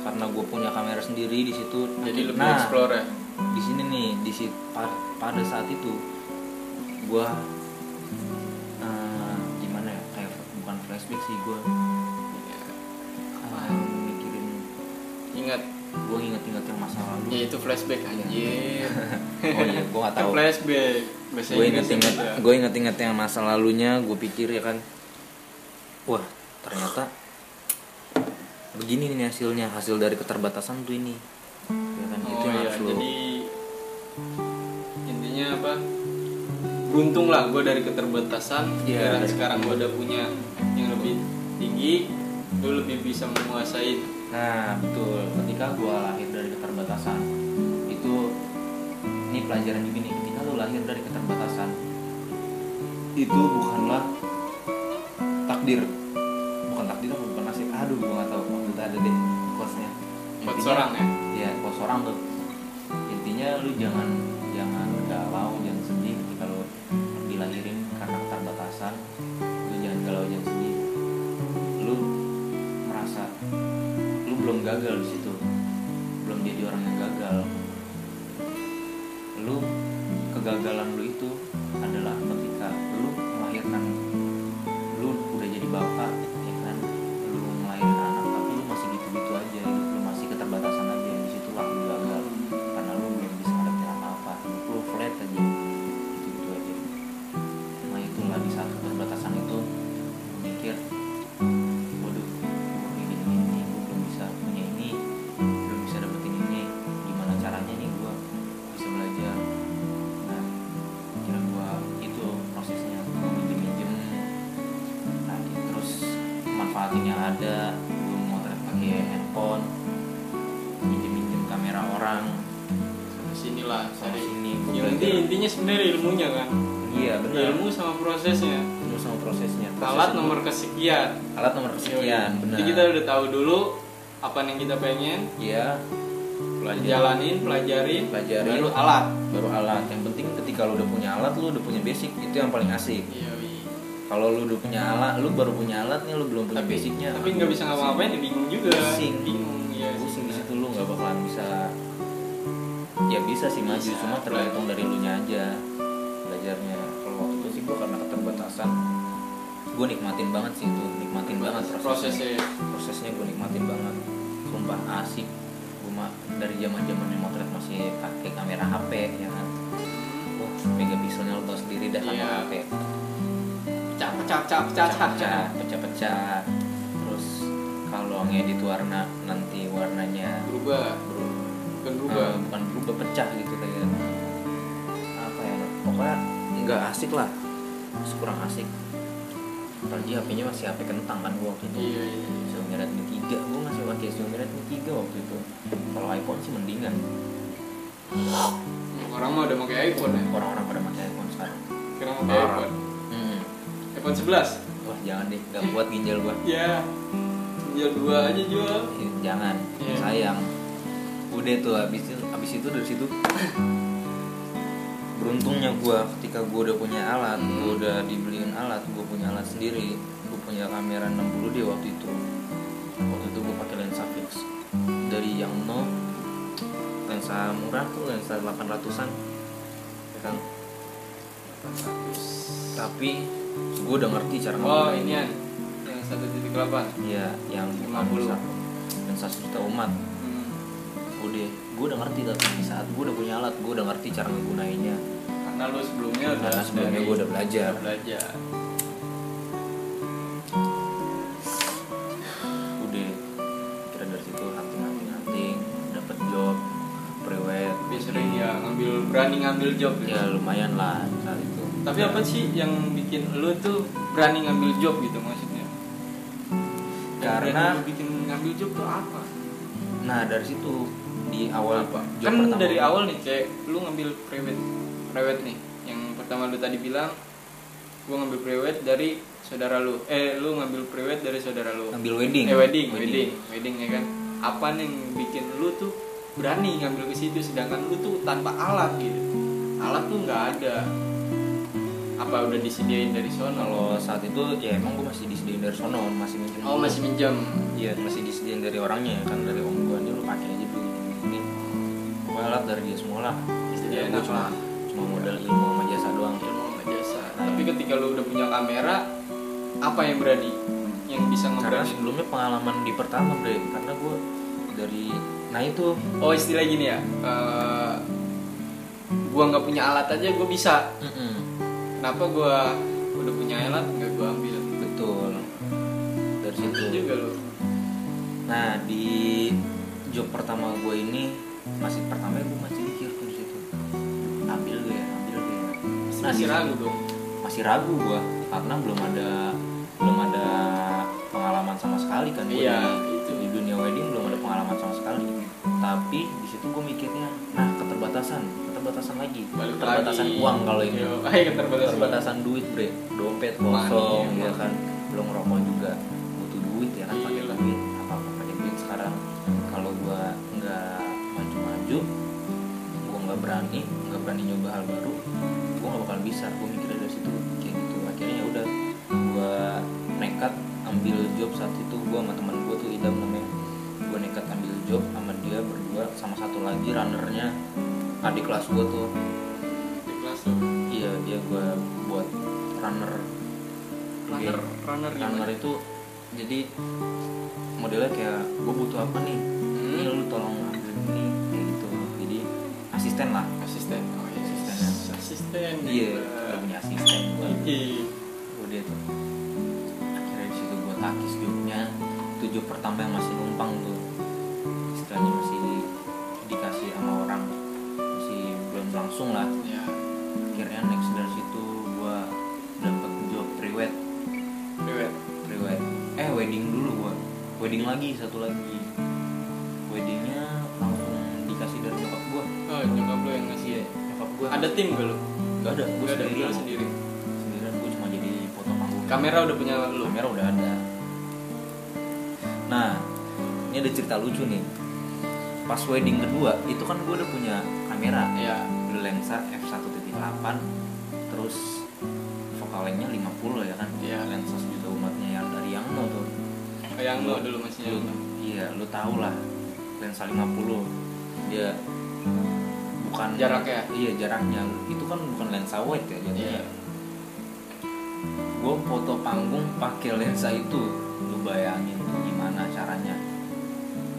karena gue punya kamera sendiri di situ
Jadi lebih
nah
explore ya.
di sini nih di situ pada saat itu gua eh, gimana ya kayak bukan flashback sih gua
Iya.
eh, mikirin
Ingat,
gua inget-inget yang masa lalu
ya itu flashback anjir.
oh iya gue nggak tahu
Itu flashback. Bahasa
gue
Inggris
inget-inget
ya.
gue inget-inget yang masa lalunya gue pikir ya kan wah ternyata begini nih hasilnya hasil dari keterbatasan tuh ini ya kan itu
Oh
yang
iya,
harus lo
jadi intinya apa? Beruntung lah gue dari keterbatasan.
Iya.
Dan sekarang gue udah punya yang lebih tinggi, gue lebih bisa menguasai.
nah betul ketika gue lahir dari keterbatasan itu ini pelajaran juga nih ketika lo lahir dari keterbatasan itu bukanlah takdir bukan takdir apa bukan nasib aduh gue nggak tahu waktu itu ada deh quotesnya
Buat
Intinya,
seorang ya.
ya bos orang tuh intinya lu jangan jangan galau jangan sedih kalau dilahirin karena keterbatasan lu jangan galau jangan sedih lu merasa lu belum gagal di situ belum jadi orang yang gagal lu kegagalan lu itu adalah ketika lu melahirkan lu udah jadi bapak ya kan lu melahirkan anak tapi lu masih gitu-gitu aja gitu. lu masih keterbatasan aja di situ lah lu gagal karena lu belum bisa ngadepin apa-apa lu, lu flat aja gitu-gitu Gitu aja nah itulah di saat keterbatasan itu lu mikir waduh gue pengen ini ini gue belum bisa punya ini belum bisa dapetin ini gimana caranya nih gue bisa belajar nah kira gue itu prosesnya gue minjem minjem nah terus manfaatin yang ada gue motret pakai handphone minjem minjem kamera orang
Sama sinilah
sama
cari
sini gue
Ya,
belajar
inti- intinya sebenarnya ilmunya kan
iya benar
ilmu sama prosesnya
ilmu sama prosesnya
alat
Prosesnya-
nomor kesekian
alat nomor sekian benar
jadi kita udah tahu dulu apa yang kita pengen
iya pelajaran
jalanin pelajarin
Pelajarin.
baru alat
baru alat yang penting ketika lu udah punya alat lu udah punya basic itu yang paling asik
iya wi.
kalau lu udah punya alat lu baru punya alat nih lu belum punya
tapi
basicnya
tapi nggak bisa ngapa-ngapain ya bingung juga
Pusing.
bingung ya
pusing di situ lu nggak bakalan bisa ya bisa sih maju
Bisa.
cuma tergantung dari lu nya aja belajarnya kalau waktu itu sih gua karena keterbatasan gue nikmatin banget sih itu nikmatin banget prosesnya
prosesnya
prosesnya gue nikmatin banget sumpah asik gue mah dari zaman zaman yang motret masih pakai kamera HP ya kan oh mega pixelnya lo tau sendiri dah kamera
Iya.
HP
cap cap cap cap cap
pecah-pecah pecah-pecah terus kalau ngedit warna nanti warnanya
berubah
berubah
bukan berubah
berubah bukan berubah pecah gitu kayak apa ya pokoknya nggak asik lah Terus kurang asik apalagi HP-nya masih HP kentang kan gua waktu itu
iya iya
Xiaomi Redmi 3 gua masih pakai Xiaomi Redmi 3 waktu itu kalau iPhone sih mendingan
orang mah udah pakai iPhone ya
orang-orang pada pakai iPhone sekarang
sekarang pakai
Parah.
iPhone
hmm.
iPhone 11
wah jangan deh nggak kuat ginjal gua
ya jual dua aja jual
Eh, jangan
Iya.
sayang udah tuh habis itu habis itu dari situ beruntungnya gua ketika gua udah punya alat gua
Hmm.
udah dibeliin alat gua punya alat sendiri gua punya kamera 60 d waktu itu waktu itu gua pakai lensa fix dari yang nol lensa murah tuh lensa 800an ya kan tapi gua udah ngerti cara
oh
ngomong.
ini yang satu titik delapan
Iya, yang
50.
lensa juta umat
Hmm.
udah gue udah ngerti tapi di saat gue udah punya alat gue udah ngerti cara menggunainnya
karena lu sebelumnya udah
Karena sebelumnya
dari-
gua udah belajar.
udah belajar
udah kira dari situ hunting hunting hunting dapat job prewed
tapi sering ya ngambil berani ngambil job
ya lumayan lah saat itu
tapi apa sih yang bikin lu tuh berani ngambil job gitu maksudnya Yang
Karena-
berani lu bikin ngambil job tuh apa
nah dari situ di awal
apa
job
kan
pertama
dari awal nih kayak lu ngambil prewed prewed nih yang pertama lu tadi bilang gua ngambil prewed dari saudara lu eh lu ngambil prewed dari saudara lu
ngambil wedding
eh wedding, wedding, wedding, ya kan. Apa nih yang bikin lu tuh berani ngambil ke situ sedangkan lu tuh tanpa alat gitu. Alat tuh nggak ada. Apa udah disediain dari sono lo?
kalau saat itu ya emang gue masih disediain dari sono masih minjem
Oh masih minjem.
iya masih disediain dari orangnya kan dari om gue ini lu pakai aja dulu ini gue alat dari dia semua lah
Disediain
Gua
apa?
cuma cuma modal ilmu sama jasa doang
Ilmu sama jasa. Tapi ketika lu udah punya kamera, apa yang berani? Yang bisa
karena
ngeberani?
sebelumnya pengalaman di pertama bre karena gue dari nah itu
Oh istilah gini ya. eh, gua nggak punya alat aja gua bisa. Kenapa gua udah punya alat nggak gua ambil?
betul dari situ
Itu juga lu.
nah di job pertama gue ini masih pertama gue masih mikir tuh di situ ambil gue ya ambil gue ya Nah,
Masih
di-
ragu dong.
masih ragu gue karena belum ada belum ada pengalaman sama sekali kan gue
Iya,
di,
itu.
di dunia wedding belum ada pengalaman sama sekali tapi di situ gue mikirnya nah keterbatasan keterbatasan lagi
Balik
keterbatasan
lagi.
uang kalau ini
Yo, ayo keterbatasan
keterbatasan duit bre dompet
Money,
kosong
emang.
ya kan belum rokok juga butuh duit ya kan pakai
Iya.
duit apa apa pakai duit sekarang kalau gua nggak maju maju gua nggak berani nggak berani nyoba hal baru gue nggak bakal bisa gue mikirnya dari situ kayak gitu akhirnya ya udah gue nekat ambil job saat itu gue sama teman gue tuh idam namanya gue nekat ambil job sama dia berdua sama satu lagi runnernya adik kelas gue tuh
di kelas tuh
iya dia gue buat runner
runner runner
runner gitu. itu jadi modelnya kayak gue butuh apa nih ini
Hmm.
lu tolong ambil ini kayak gitu jadi asisten lah
asisten oh iya
Asisten.
asisten
iya udah punya asisten gue
Iya.
udah tuh akhirnya di situ gue takis jobnya itu job pertama yang masih numpang tuh istilahnya masih dikasih sama orang masih belum langsung lah
ya
akhirnya next dari situ gue dapet job priwet
priwet
priwet eh wedding dulu gue wedding lagi satu lagi weddingnya langsung dikasih dari nyokap gue
oh nyokap lu yang ngasih ya
nyokap gue
ada tim gak lu
gak ada gue
Gak ada
sendiri
lu sendiri
sendirian gue cuma jadi foto panggung
kamera udah punya lu
kamera udah ada nah ini ada cerita lucu nih pas wedding kedua itu kan gue udah punya kamera
ya
udah lensa f1.8 terus vokalnya 50 ya kan
Iya.
lensa sejuta umatnya yang dari yang mau tuh
yang lu dulu masih
Lu- iya lu tau lah lensa 50 dia bukan
Jaraknya?
iya jaraknya itu kan bukan lensa wide ya jadinya
Iya.
gue foto panggung pakai lensa itu lu bayangin tuh gimana caranya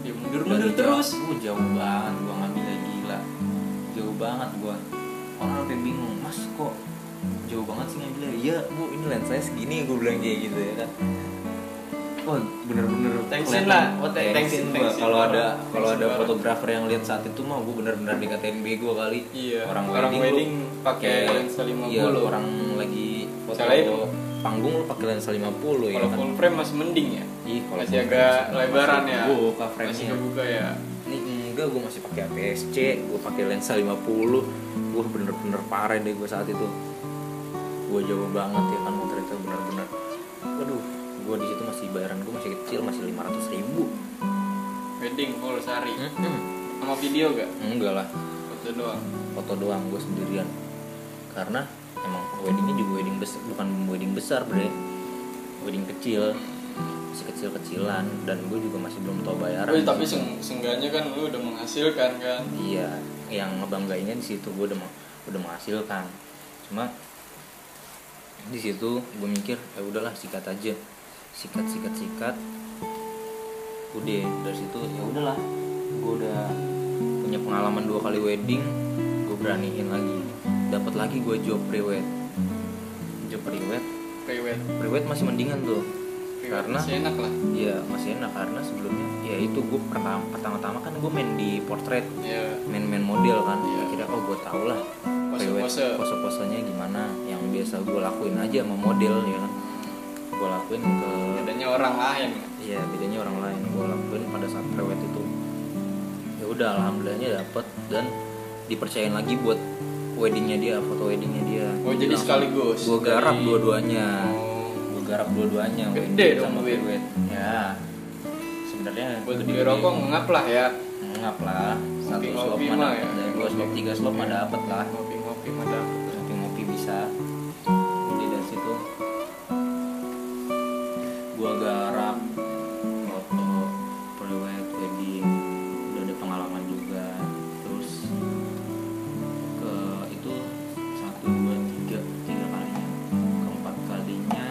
ya mundur
Dari
mundur
jauh-
terus
uh, jauh banget gue ngambilnya gila jauh banget gue orang sampai bingung mas kok jauh banget sih ngambilnya iya bu ini lensanya segini gue bilang kayak gitu ya kan Wah bener-bener
Thanksin
kelihatan-
lah.
oh,
Thanksin,
thanksin gua.
thanksin
Kalau ada
banget.
kalau ada
Thanksin banget.
fotografer yang lihat saat itu mah gue bener-bener dikatain bego kali.
Iya,
Orang,
orang
wedding,
wedding
lu
pakai
pakai-
lensa 50.
Iya, orang lagi foto
Misalnya itu.
panggung lu pakai lensa 50 ya
Iya. kalau
kan.
full frame masih mending ya
Ih, kalau
masih
full
agak
frame sih,
lebaran
Iya. masih
ya
kebuka
masih
frame-nya.
kebuka ya
ini enggak gue masih pakai APS-C gue pakai lensa 50 gue bener-bener parah deh gue saat itu gue jauh banget ya kan motor itu bener-bener waduh gue di situ masih bayaran gue masih kecil masih 500 ribu
wedding full sehari sama video gak
enggak lah
foto doang
foto doang gue sendirian karena emang weddingnya juga wedding besar bukan wedding besar bre wedding kecil masih kecil-kecilan dan gue juga masih belum tahu bayaran di
tapi, tapi
situ.
seng- seenggaknya kan lu udah menghasilkan kan
iya yang ngebanggainnya di situ gue udah mau udah menghasilkan cuma di situ gue mikir ya udahlah sikat aja sikat sikat sikat udah dari situ ya udahlah gue udah punya pengalaman dua kali wedding gue beraniin lagi dapat lagi gue job prewed job prewed
priwet
prewed masih mendingan tuh
Priwet
karena
masih enak lah
Iya masih enak karena sebelumnya ya itu gue pertama pertama-tama kan gue main di portrait
ya
main-main model kan
Iya.
akhirnya oh gue tau lah
Pose-pose.
pose posenya gimana yang biasa gue lakuin aja sama model ya kan gue lakuin ke
adanya orang lain kan
ya bedanya orang lain gue lakuin pada saat prewed itu ya udah alhamdulillahnya dapet dan dipercayain lagi buat weddingnya dia foto weddingnya dia
Oh, jadi sekaligus.
gue Iya. garap
Jadi-
dua-duanya
Oh,
gue garap dua-duanya
Gede
wedding
dong,
sama
Win.
prewed ya sebenarnya
buat
gede-gede.
beli rokok ngap lah ya
Ngap lah satu
Ngopi-ngopi
slop
mah
mana
ya.
dari dua slop tiga slop mah dapet lah
ngopi ngopi madam
ngopi ngopi bisa jadi dari situ gua garap foto prewed wedding udah ada pengalaman juga terus ke itu satu dua tiga tiga kalinya keempat kalinya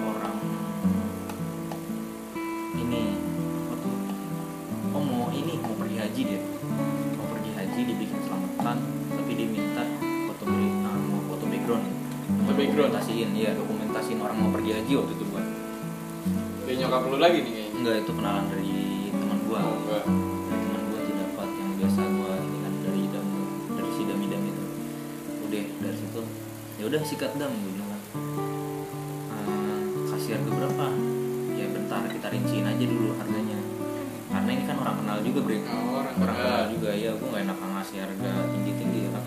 orang ini waktu oh mau ini mau pergi haji dia mau pergi haji dibikin selamatan tapi dia minta foto beri- ah, mau foto background
Foto background?
dokumentasiin ya dokumentasiin orang mau pergi haji waktu itu buat
dia nyokap lu lagi nih kayaknya
enggak itu kenalan dari teman gua
Oh, enggak.
dari teman gua tuh dapat yang biasa gua ini kan dari idam dari si dam idam itu udah dari situ ya udah sikat dam gua bilang kan "Eh, kasihan ke berapa ya bentar kita rinciin aja dulu harganya karena ini kan orang kenal juga bre
Oh, orang
orang
kenal.
kenal juga ya gua nggak enak ngasih harga tinggi tinggi ya kan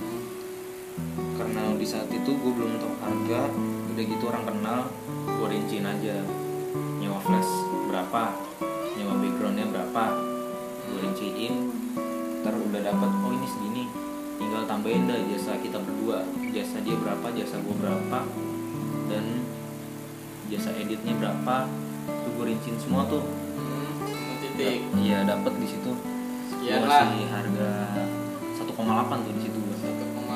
karena di saat itu gue belum tahu harga udah gitu orang kenal gue rinciin aja nyewa flash berapa nyewa backgroundnya berapa gue rinciin ntar udah dapat oh ini segini tinggal tambahin dah jasa kita berdua jasa dia berapa jasa gue berapa dan jasa editnya berapa tuh gue rincin semua tuh
Hmm, titik
iya dapat di situ gue
sekian Iya lah
kasih harga 1,8 tuh di situ gua.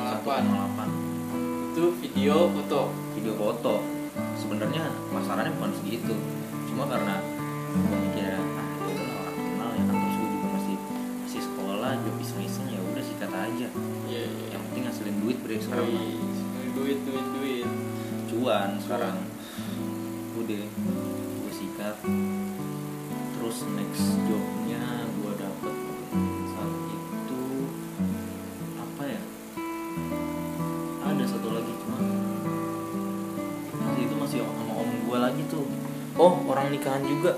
1,8
1,8
itu video foto
video foto sebenarnya masalahnya bukan segitu cuma karena gue mikir ah ya udahlah orang kenal ya kan terus gue juga masih masih sekolah job iseng iseng ya udah sikat aja
iya iya
yang penting ngasilin duit bre sekarang mah.
Wih, duit duit duit
cuan sekarang udah gue sikat terus next jobnya gue dapet saat itu apa ya ada satu lagi cuma masih itu masih sama om gue lagi tuh oh orang nikahan juga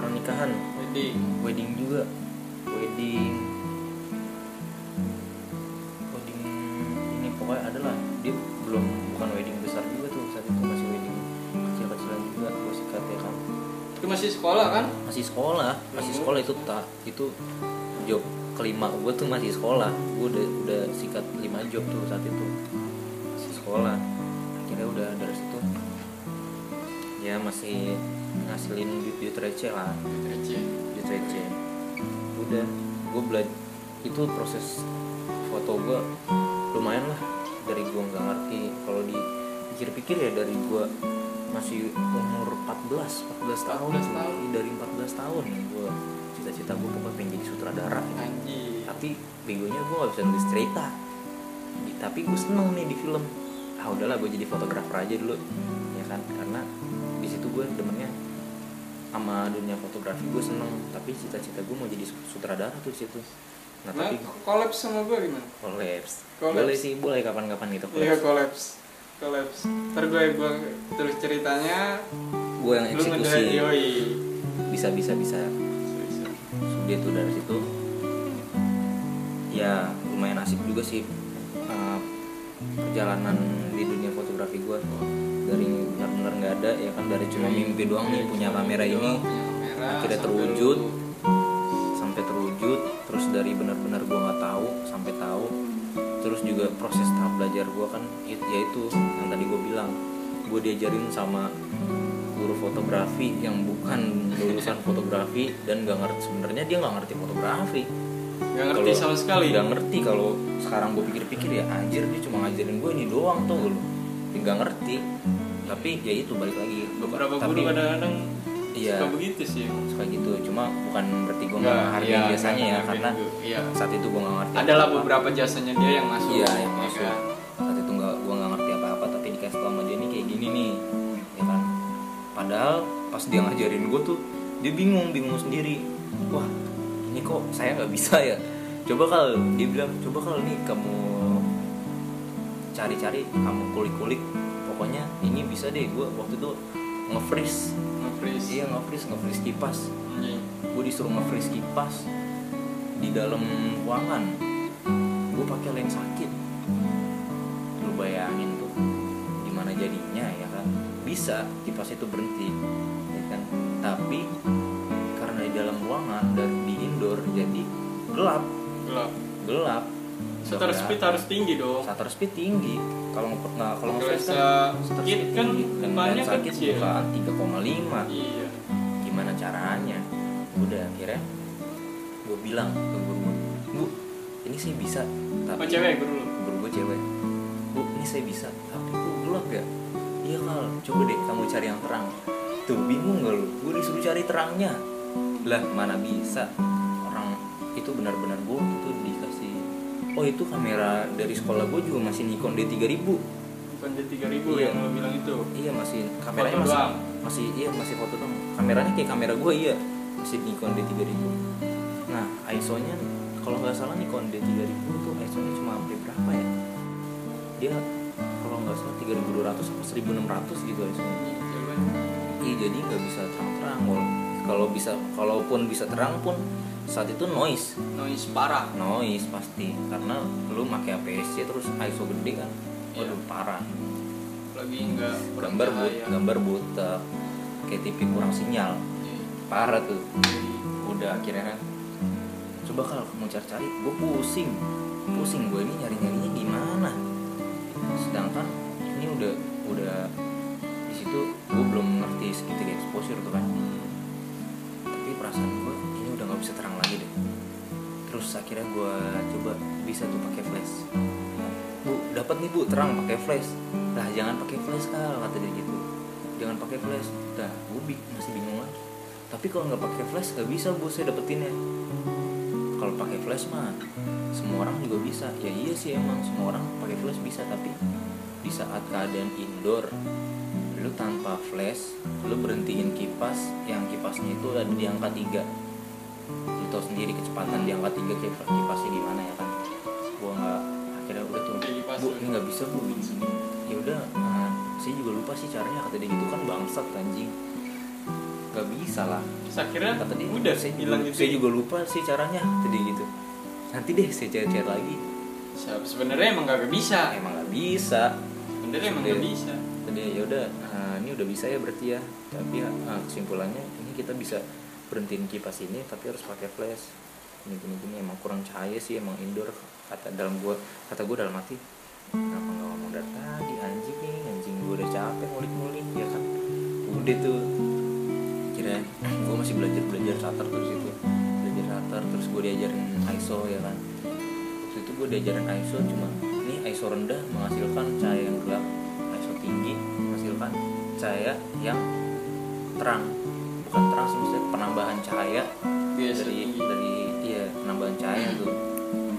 orang nikahan
wedding
wedding juga wedding wedding ini pokoknya ada lah dia belum bukan wedding besar juga tuh saat itu masih wedding kecil-kecilan juga gue sikat ya kan
itu masih sekolah kan
masih sekolah masih sekolah itu tak itu job kelima gue tuh masih sekolah gue udah udah sikat lima job tuh saat itu masih sekolah akhirnya udah dari situ ya masih ngasilin duit duit receh lah
receh
di receh udah gue belajar itu proses foto gue lumayan lah dari gue nggak ngerti kalau dipikir-pikir ya dari gue masih umur 14 14 tahun
14 tahun.
Ini dari 14 tahun ya gue cita-cita gue pokoknya pengen jadi sutradara gitu.
anjir
tapi begonya gue gak bisa nulis cerita Di- tapi gue seneng nih di film ah udahlah gue jadi fotografer aja dulu ya kan karena di situ gue demennya sama dunia fotografi gue seneng tapi cita-cita gue mau jadi sutradara tuh di situ nah
nah
tapi
collab sama gue gimana
kolaps
Kolaps.
boleh sih boleh kapan-kapan gitu
iya
kolaps
collabs collabs ntar gue gue tulis ceritanya
gue yang
lu
eksekusi
ngejain yoi
bisa bisa bisa
Serius.
dia tuh dari situ ya lumayan asik juga sih eh, perjalanan di dunia fotografi gue dari benar-benar nggak ada ya kan dari cuma mimpi doang
Iya,
nih punya kamera ini
Punya kamera,
akhirnya
sampai
terwujud.
lu-
sampai terwujud terus dari benar-benar gue nggak tahu sampai tahu terus juga proses tahap belajar gue kan it- yaitu yang tadi gue bilang gue diajarin sama guru fotografi yang bukan lulusan fotografi dan gak ngerti sebenarnya dia nggak ngerti fotografi
nggak ngerti
Kalau
sama sekali
nggak ngerti kalau sekarang gue pikir-pikir ya anjir dia cuma ngajarin gue ini doang tuh lu dia nggak ngerti tapi ya itu balik lagi
beberapa
tapi,
guru kadang-kadang
Iya.
suka begitu sih
suka gitu cuma bukan berarti gue nggak menghargai
iya,
biasanya
nggak
ya
ngargain
karena
gua. iya
saat itu gue nggak ngerti
adalah
apa-apa.
beberapa jasanya dia yang masuk
iya yang
ya
masuk
kan?
saat itu nggak gue nggak ngerti apa-apa tapi dikasih tau sama dia ini kayak gini nih ya kan padahal pas dia ngajarin gue tuh dia bingung bingung sendiri wah ini kok saya nggak bisa ya coba kalau dia bilang coba kalau nih kamu cari-cari kamu kulik-kulik pokoknya ini bisa deh gue waktu itu nge-freeze
nge-freeze Iya.
iya nge-freeze nge-freeze kipas
Anjing.
gue disuruh nge-freeze kipas di dalam ruangan gue pakai lens sakit lu bayangin tuh gimana jadinya ya kan bisa kipas itu berhenti ya kan tapi karena di dalam ruangan dan di indoor jadi gelap
gelap
gelap
shutter
Gelap.
speed harus tinggi dong
shutter speed tinggi kalau nge- nggak kalau
Kalau
nge-freeze
bisa
kan shutter
kit
speed
kan
tinggi dan
depannya
lens sakit
kecil.
bukan 3,5
iya
gimana caranya udah akhirnya gue bilang ke guru gua, bu ini saya bisa tapi
oh cewek guru lu
guru gue cewek bu ini saya bisa tapi kok gelap ya iya kal coba deh kamu cari yang terang tuh bingung gak lu gue disuruh cari terangnya lah mana bisa orang itu benar-benar gue itu dikasih oh itu kamera dari sekolah gue juga masih Nikon D3000
bukan dia 3000
Iya.
yang lo bilang itu
Iya masih kameranya
Foto
masih
doang.
masih iya masih foto dong. Kameranya kayak kamera gue iya masih Nikon D3000. Nah ISO-nya kalau nggak salah Nikon D3000 tuh ISO-nya cuma hampir berapa ya? Dia kalau nggak salah 3200 atau 1600 gitu ISO-nya. Iya jadi nggak bisa terang-terang. Wal- Kalau bisa kalaupun bisa terang pun saat itu noise Nah,
noise parah
noise pasti karena lu pakai APS-C terus ISO gede kan.
Iya.
Waduh parah
lagi ya. enggak kurang
gambar but,
cahaya.
gambar buta kayak TV kurang sinyal
Iya.
parah tuh
Jadi,
udah akhirnya coba kalau kamu cari-cari gue pusing pusing gue ini nyari-nyarinya gimana sedangkan ini udah udah di situ gue belum ngerti segitiga exposure tuh kan tapi perasaan gue ini udah nggak bisa terang lagi deh terus akhirnya gue coba bisa tuh pakai flash bu dapat nih bu terang pakai flash lah jangan pakai flash kal kata dia gitu jangan pakai flash dah gue bi- masih bingung lagi tapi kalau nggak pakai flash nggak bisa bu saya dapetinnya kalau pakai flash mah semua orang juga bisa ya iya sih emang semua orang pakai flash bisa tapi di saat keadaan indoor lu tanpa flash lu berhentiin kipas yang kipasnya itu ada di angka 3 lu tau sendiri kecepatan di angka 3 kayak kipasnya gimana ya kan gua nggak akhirnya udah tuh
Kayak kipas ya?
bu
lu.
ini nggak bisa bu gini gini ya udah eh, saya juga lupa sih caranya kata dia gitu kan bangsat anjing nggak bisa lah
Terus akhirnya
kata dia
udah
saya juga,
hilang gitu.
saya juga lupa sih caranya tadi gitu nanti deh saya cari-cari lagi "Nah,
Siap, Sebenarnya emang gak bisa.
emang nggak bisa
Sebenarnya emang gak
Iya.
bisa.
tadi ya udah eh, ini udah bisa ya berarti ya tapi eh, kesimpulannya ini kita bisa berhentiin kipas ini tapi harus pakai flash ini gini gini emang kurang cahaya sih emang indoor kata dalam gua kata gua dalam hati kenapa nggak ngomong dari tadi anjing nih anjing gua udah capek ngulik ngulik ya kan udah tuh kira gua masih belajar belajar shutter terus itu belajar shutter terus gua diajarin ISO ya kan waktu itu gue diajarin ISO cuma ini ISO rendah menghasilkan cahaya yang gelap ISO tinggi menghasilkan cahaya yang terang bukan terang sih maksudnya penambahan cahaya
Iya,
dari
tinggi.
dari iya penambahan cahaya tuh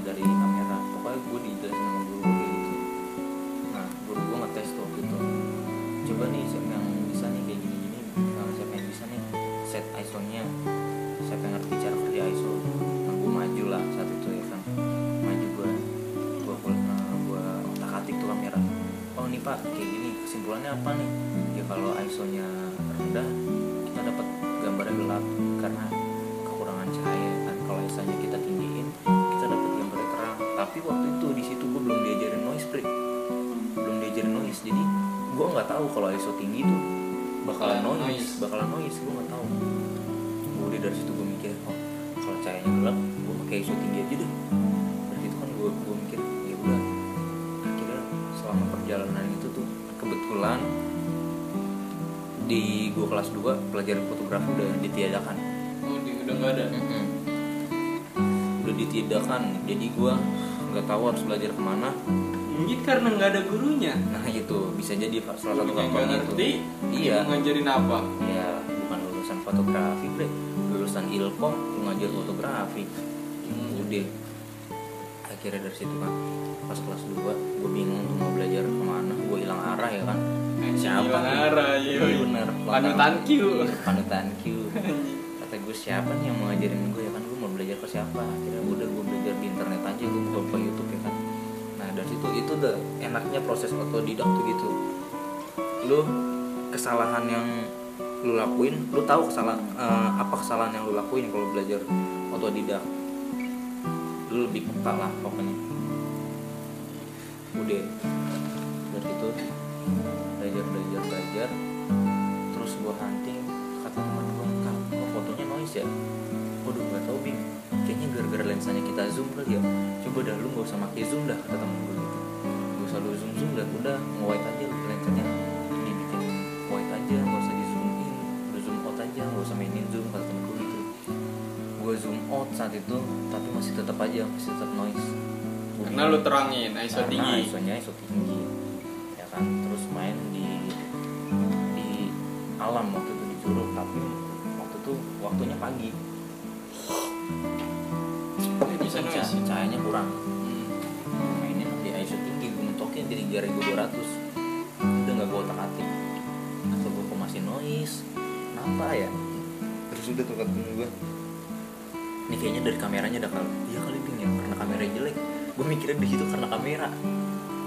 dari kamera pokoknya gue dijelasin sama guru gue kayak gitu nah guru gue ngetes tuh waktu itu coba nih siapa yang bisa nih kayak gini gini siapa yang bisa nih set ISO nya siapa yang ngerti cara kerja ISO nah, gue maju lah saat itu ya kan maju gue gue gue otak atik tuh kamera oh nih pak kayak gini kesimpulannya apa nih ya kalau ISO nya rendah kita dapat gambarnya gelap karena kekurangan cahaya kan kalau ISO nya kita tinggiin kita dapat gambarnya terang tapi waktu itu di situ gue belum diajarin noise break belum diajarin noise jadi gue nggak tahu kalau ISO tinggi tuh bakalan
Bakalan
noise,
noise.
bakalan noise gue nggak tahu Gua udah dari situ gue mikir oh kalau cahayanya gelap gue pakai ISO tinggi aja deh dari situ kan gue gue mikir ya udah akhirnya selama perjalanan itu tuh kebetulan di gue kelas 2 pelajaran fotografi udah ditiadakan
Oh, di, udah gak ada.
udah ditiadakan jadi gue nggak tahu harus belajar kemana
Mungkin karena nggak ada gurunya.
nah itu bisa jadi fa- salah satu
Gurunya nggak
faktornya itu
ngerti.
iya
mau Ngajarin apa?
ya bukan lulusan fotografi bre lulusan ilkom lu ngajar fotografi
Hmm.
udah akhirnya dari situ kan pas kelas 2 gue bingung tuh mau belajar kemana gue hilang arah ya kan siapa
Eh, Hilang
nih?
arah, iya.
Iya, bener
Panutan Q.
Iya, panutan Q kata gue siapa nih yang mau ngajarin gue ya kan gue mau belajar ke siapa akhirnya udah gue belajar di internet aja gue buka buka YouTube ya kan nah dari situ itu udah enaknya proses otodidak tuh gitu lu kesalahan yang lu lakuin lu tahu kesalahan eh, apa kesalahan yang lu lakuin kalau belajar otodidak lu lebih peka lah pokoknya udah dari itu belajar belajar gitu, belajar terus gua hunting kata teman gua kan kok fotonya noise ya waduh nggak tahu bing kayaknya gara-gara lensanya kita zoom kali ya coba dah lu nggak usah pakai zoom dah kata temen gua gitu nggak usah lu zoom zoom dah udah nge-wide aja lensanya dibikin wide aja nggak usah di zoom in lu zoom out aja nggak usah mainin zoom kata temen gua gitu gua zoom out saat itu tapi masih tetap aja masih tetap noise Gua bingung
Karena lu terangin, ISO
karena
tinggi.
ISO-nya ISO tinggi ya kan terus main di di alam waktu itu di Curug tapi waktu itu waktunya pagi
Eh, Bisa
Jadi
noise.
cah- cahayanya kurang
Hmm.
mainnya di ISO tinggi gue mentokin jadi 3200 udah nggak gue otak atik atau gue kok masih noise kenapa ya terus udah tuh kata temen gue ini kayaknya dari kameranya dah kali iya kali pingin karena kamera jelek gue mikirnya di situ karena kamera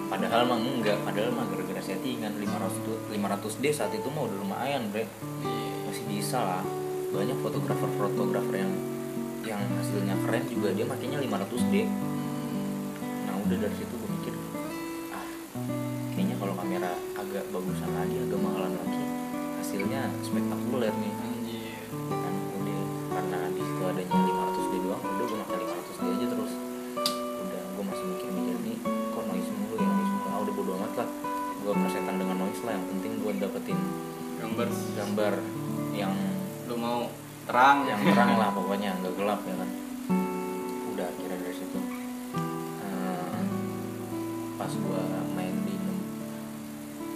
padahal mah enggak padahal mah gara-gara settingan 500 tu- 500 d saat itu mah udah lumayan bre
Iya.
masih bisa lah banyak fotografer fotografer yang yang hasilnya keren juga dia makanya 500 d nah udah dari situ gue mikir ah kayaknya kalau kamera agak bagusan lagi agak mahalan lagi hasilnya spektakuler nih Ya
Anjir.
kan udah karena di situ adanya 500 d doang udah gue makan ya, Ah, lah yang penting gue dapetin
gambar
gambar Iya. yang
lu mau terang
yang terang lah pokoknya nggak gelap ya kan udah akhirnya dari situ eh, pas gua main di enam-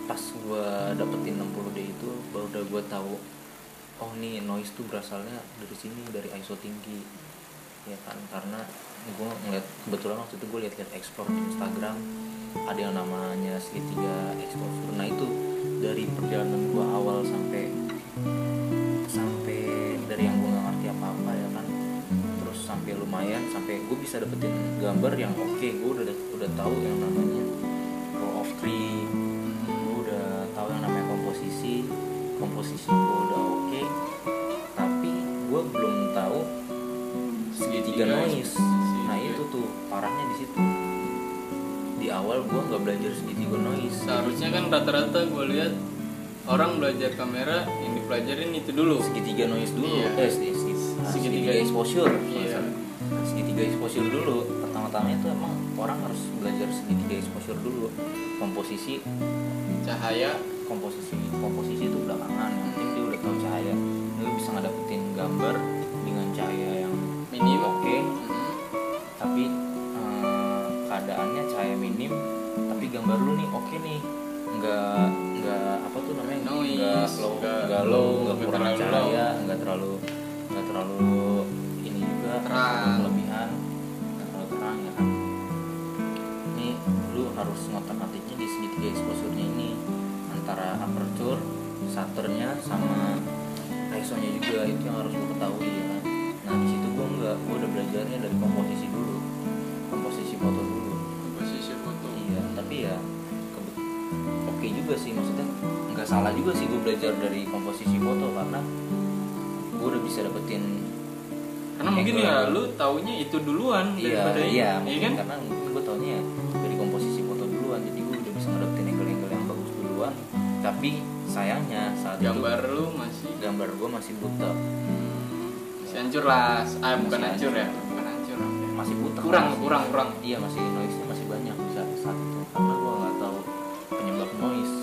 pas gua dapetin 60 d itu baru udah gua tahu oh nih noise tuh berasalnya dari sini dari ISO tinggi ya kan karena gua ngeliat kebetulan waktu itu gua liat-liat explore di Instagram ada yang namanya segitiga exposure nah itu dari perjalanan gua awal sampai sampai dari yang gue nggak ngerti apa apa ya kan terus sampai lumayan sampai gue bisa dapetin gambar yang oke gue udah udah tahu yang namanya row of three gue udah tahu yang namanya komposisi komposisi gue udah oke tapi gue belum tahu segitiga
Iya,
noise nah itu tuh parahnya di situ di awal gue nggak belajar segitiga noise
seharusnya kan rata-rata gue lihat orang belajar kamera yang dipelajarin itu dulu
segitiga noise dulu
Iya.
eh, segi- segi- segitiga,
Segitiga.
exposure kalau
Iya.
salah. segitiga exposure dulu pertama-tama itu emang orang harus belajar segitiga exposure dulu komposisi
cahaya
komposisi komposisi itu belakangan yang penting dia udah tahu cahaya lu bisa ngedapetin gambar dengan cahaya yang iya,
Minim.
oke
Mhm.
tapi eh, keadaannya cahaya minim tapi gambar lu nih oke nih nggak nggak apa tuh namanya
Noise,
nggak low
nggak-
nggak low nggak
nggak
kurang
terlalu
cahaya ya, nggak terlalu nggak terlalu ini juga
Terang.
nggak kelebihan nggak terlalu terang ya kan ini lu harus ngotak atiknya di segitiga exposure-nya ini antara aperture shutternya sama ISO-nya juga itu yang harus lu ketahui ya kan nah di situ gua nggak gua udah belajarnya dari komposisi dulu komposisi foto dulu
posisi foto
iya tapi ya kebe- oke juga sih maksudnya nggak salah juga sih gue belajar dari komposisi foto karena gue udah bisa dapetin
karena mungkin
angle.
ya lu taunya itu duluan
iya
daripada ini,
iya
iya
mungkin
kan
karena mungkin gue taunya ya dari komposisi foto duluan jadi gue udah bisa ngedapetin angle-angle yang bagus duluan tapi sayangnya saat
gambar lu masih
itu gambar gue masih buta
masih hancur lah ah bukan
Masih
hancur
hancur.
ya
Iya.
bukan hancur
masih buta
kurang
masih-
kurang kurang
iya masih noise nya masih banyak bisa saat itu karena gue nggak tahu penyebab noise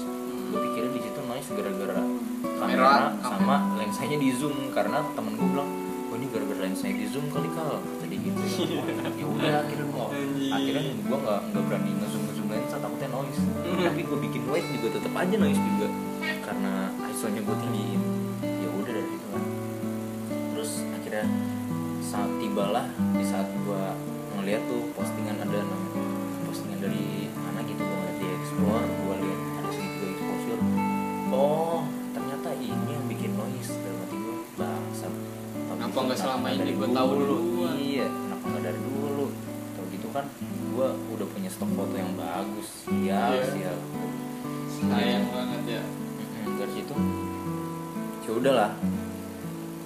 gue pikirnya di situ noise gara-gara Hmm. kamera
kamera.
sama lensanya di zoom karena temen gue bilang oh ini gara-gara lensanya di zoom kali kal tadi gitu ya Wah, ya udah akhirnya gue
Anjing.
akhirnya gue nggak nggak berani ngezoom ngezoom lensa takutnya noise
Hmm.
tapi gue bikin wide juga tetap aja noise juga karena ISO nya gue tinggiin ya udah dari situ kan terus akhirnya saat tibalah di saat gue ngeliat tuh postingan ada nam- postingan dari mana gitu gue ngeliat di explore gue lihat ada segitiga exposure oh ternyata ini yang bikin noise dalam hati gue bangsat Tapi
Kenapa nggak selama ini
dari
gua tahu duluan?
iya kenapa nggak dari dulu tau gitu kan gue udah punya stok foto yang bagus sial
Iya.
sial
sayang banget ya
Mm-mm, dari situ ya udahlah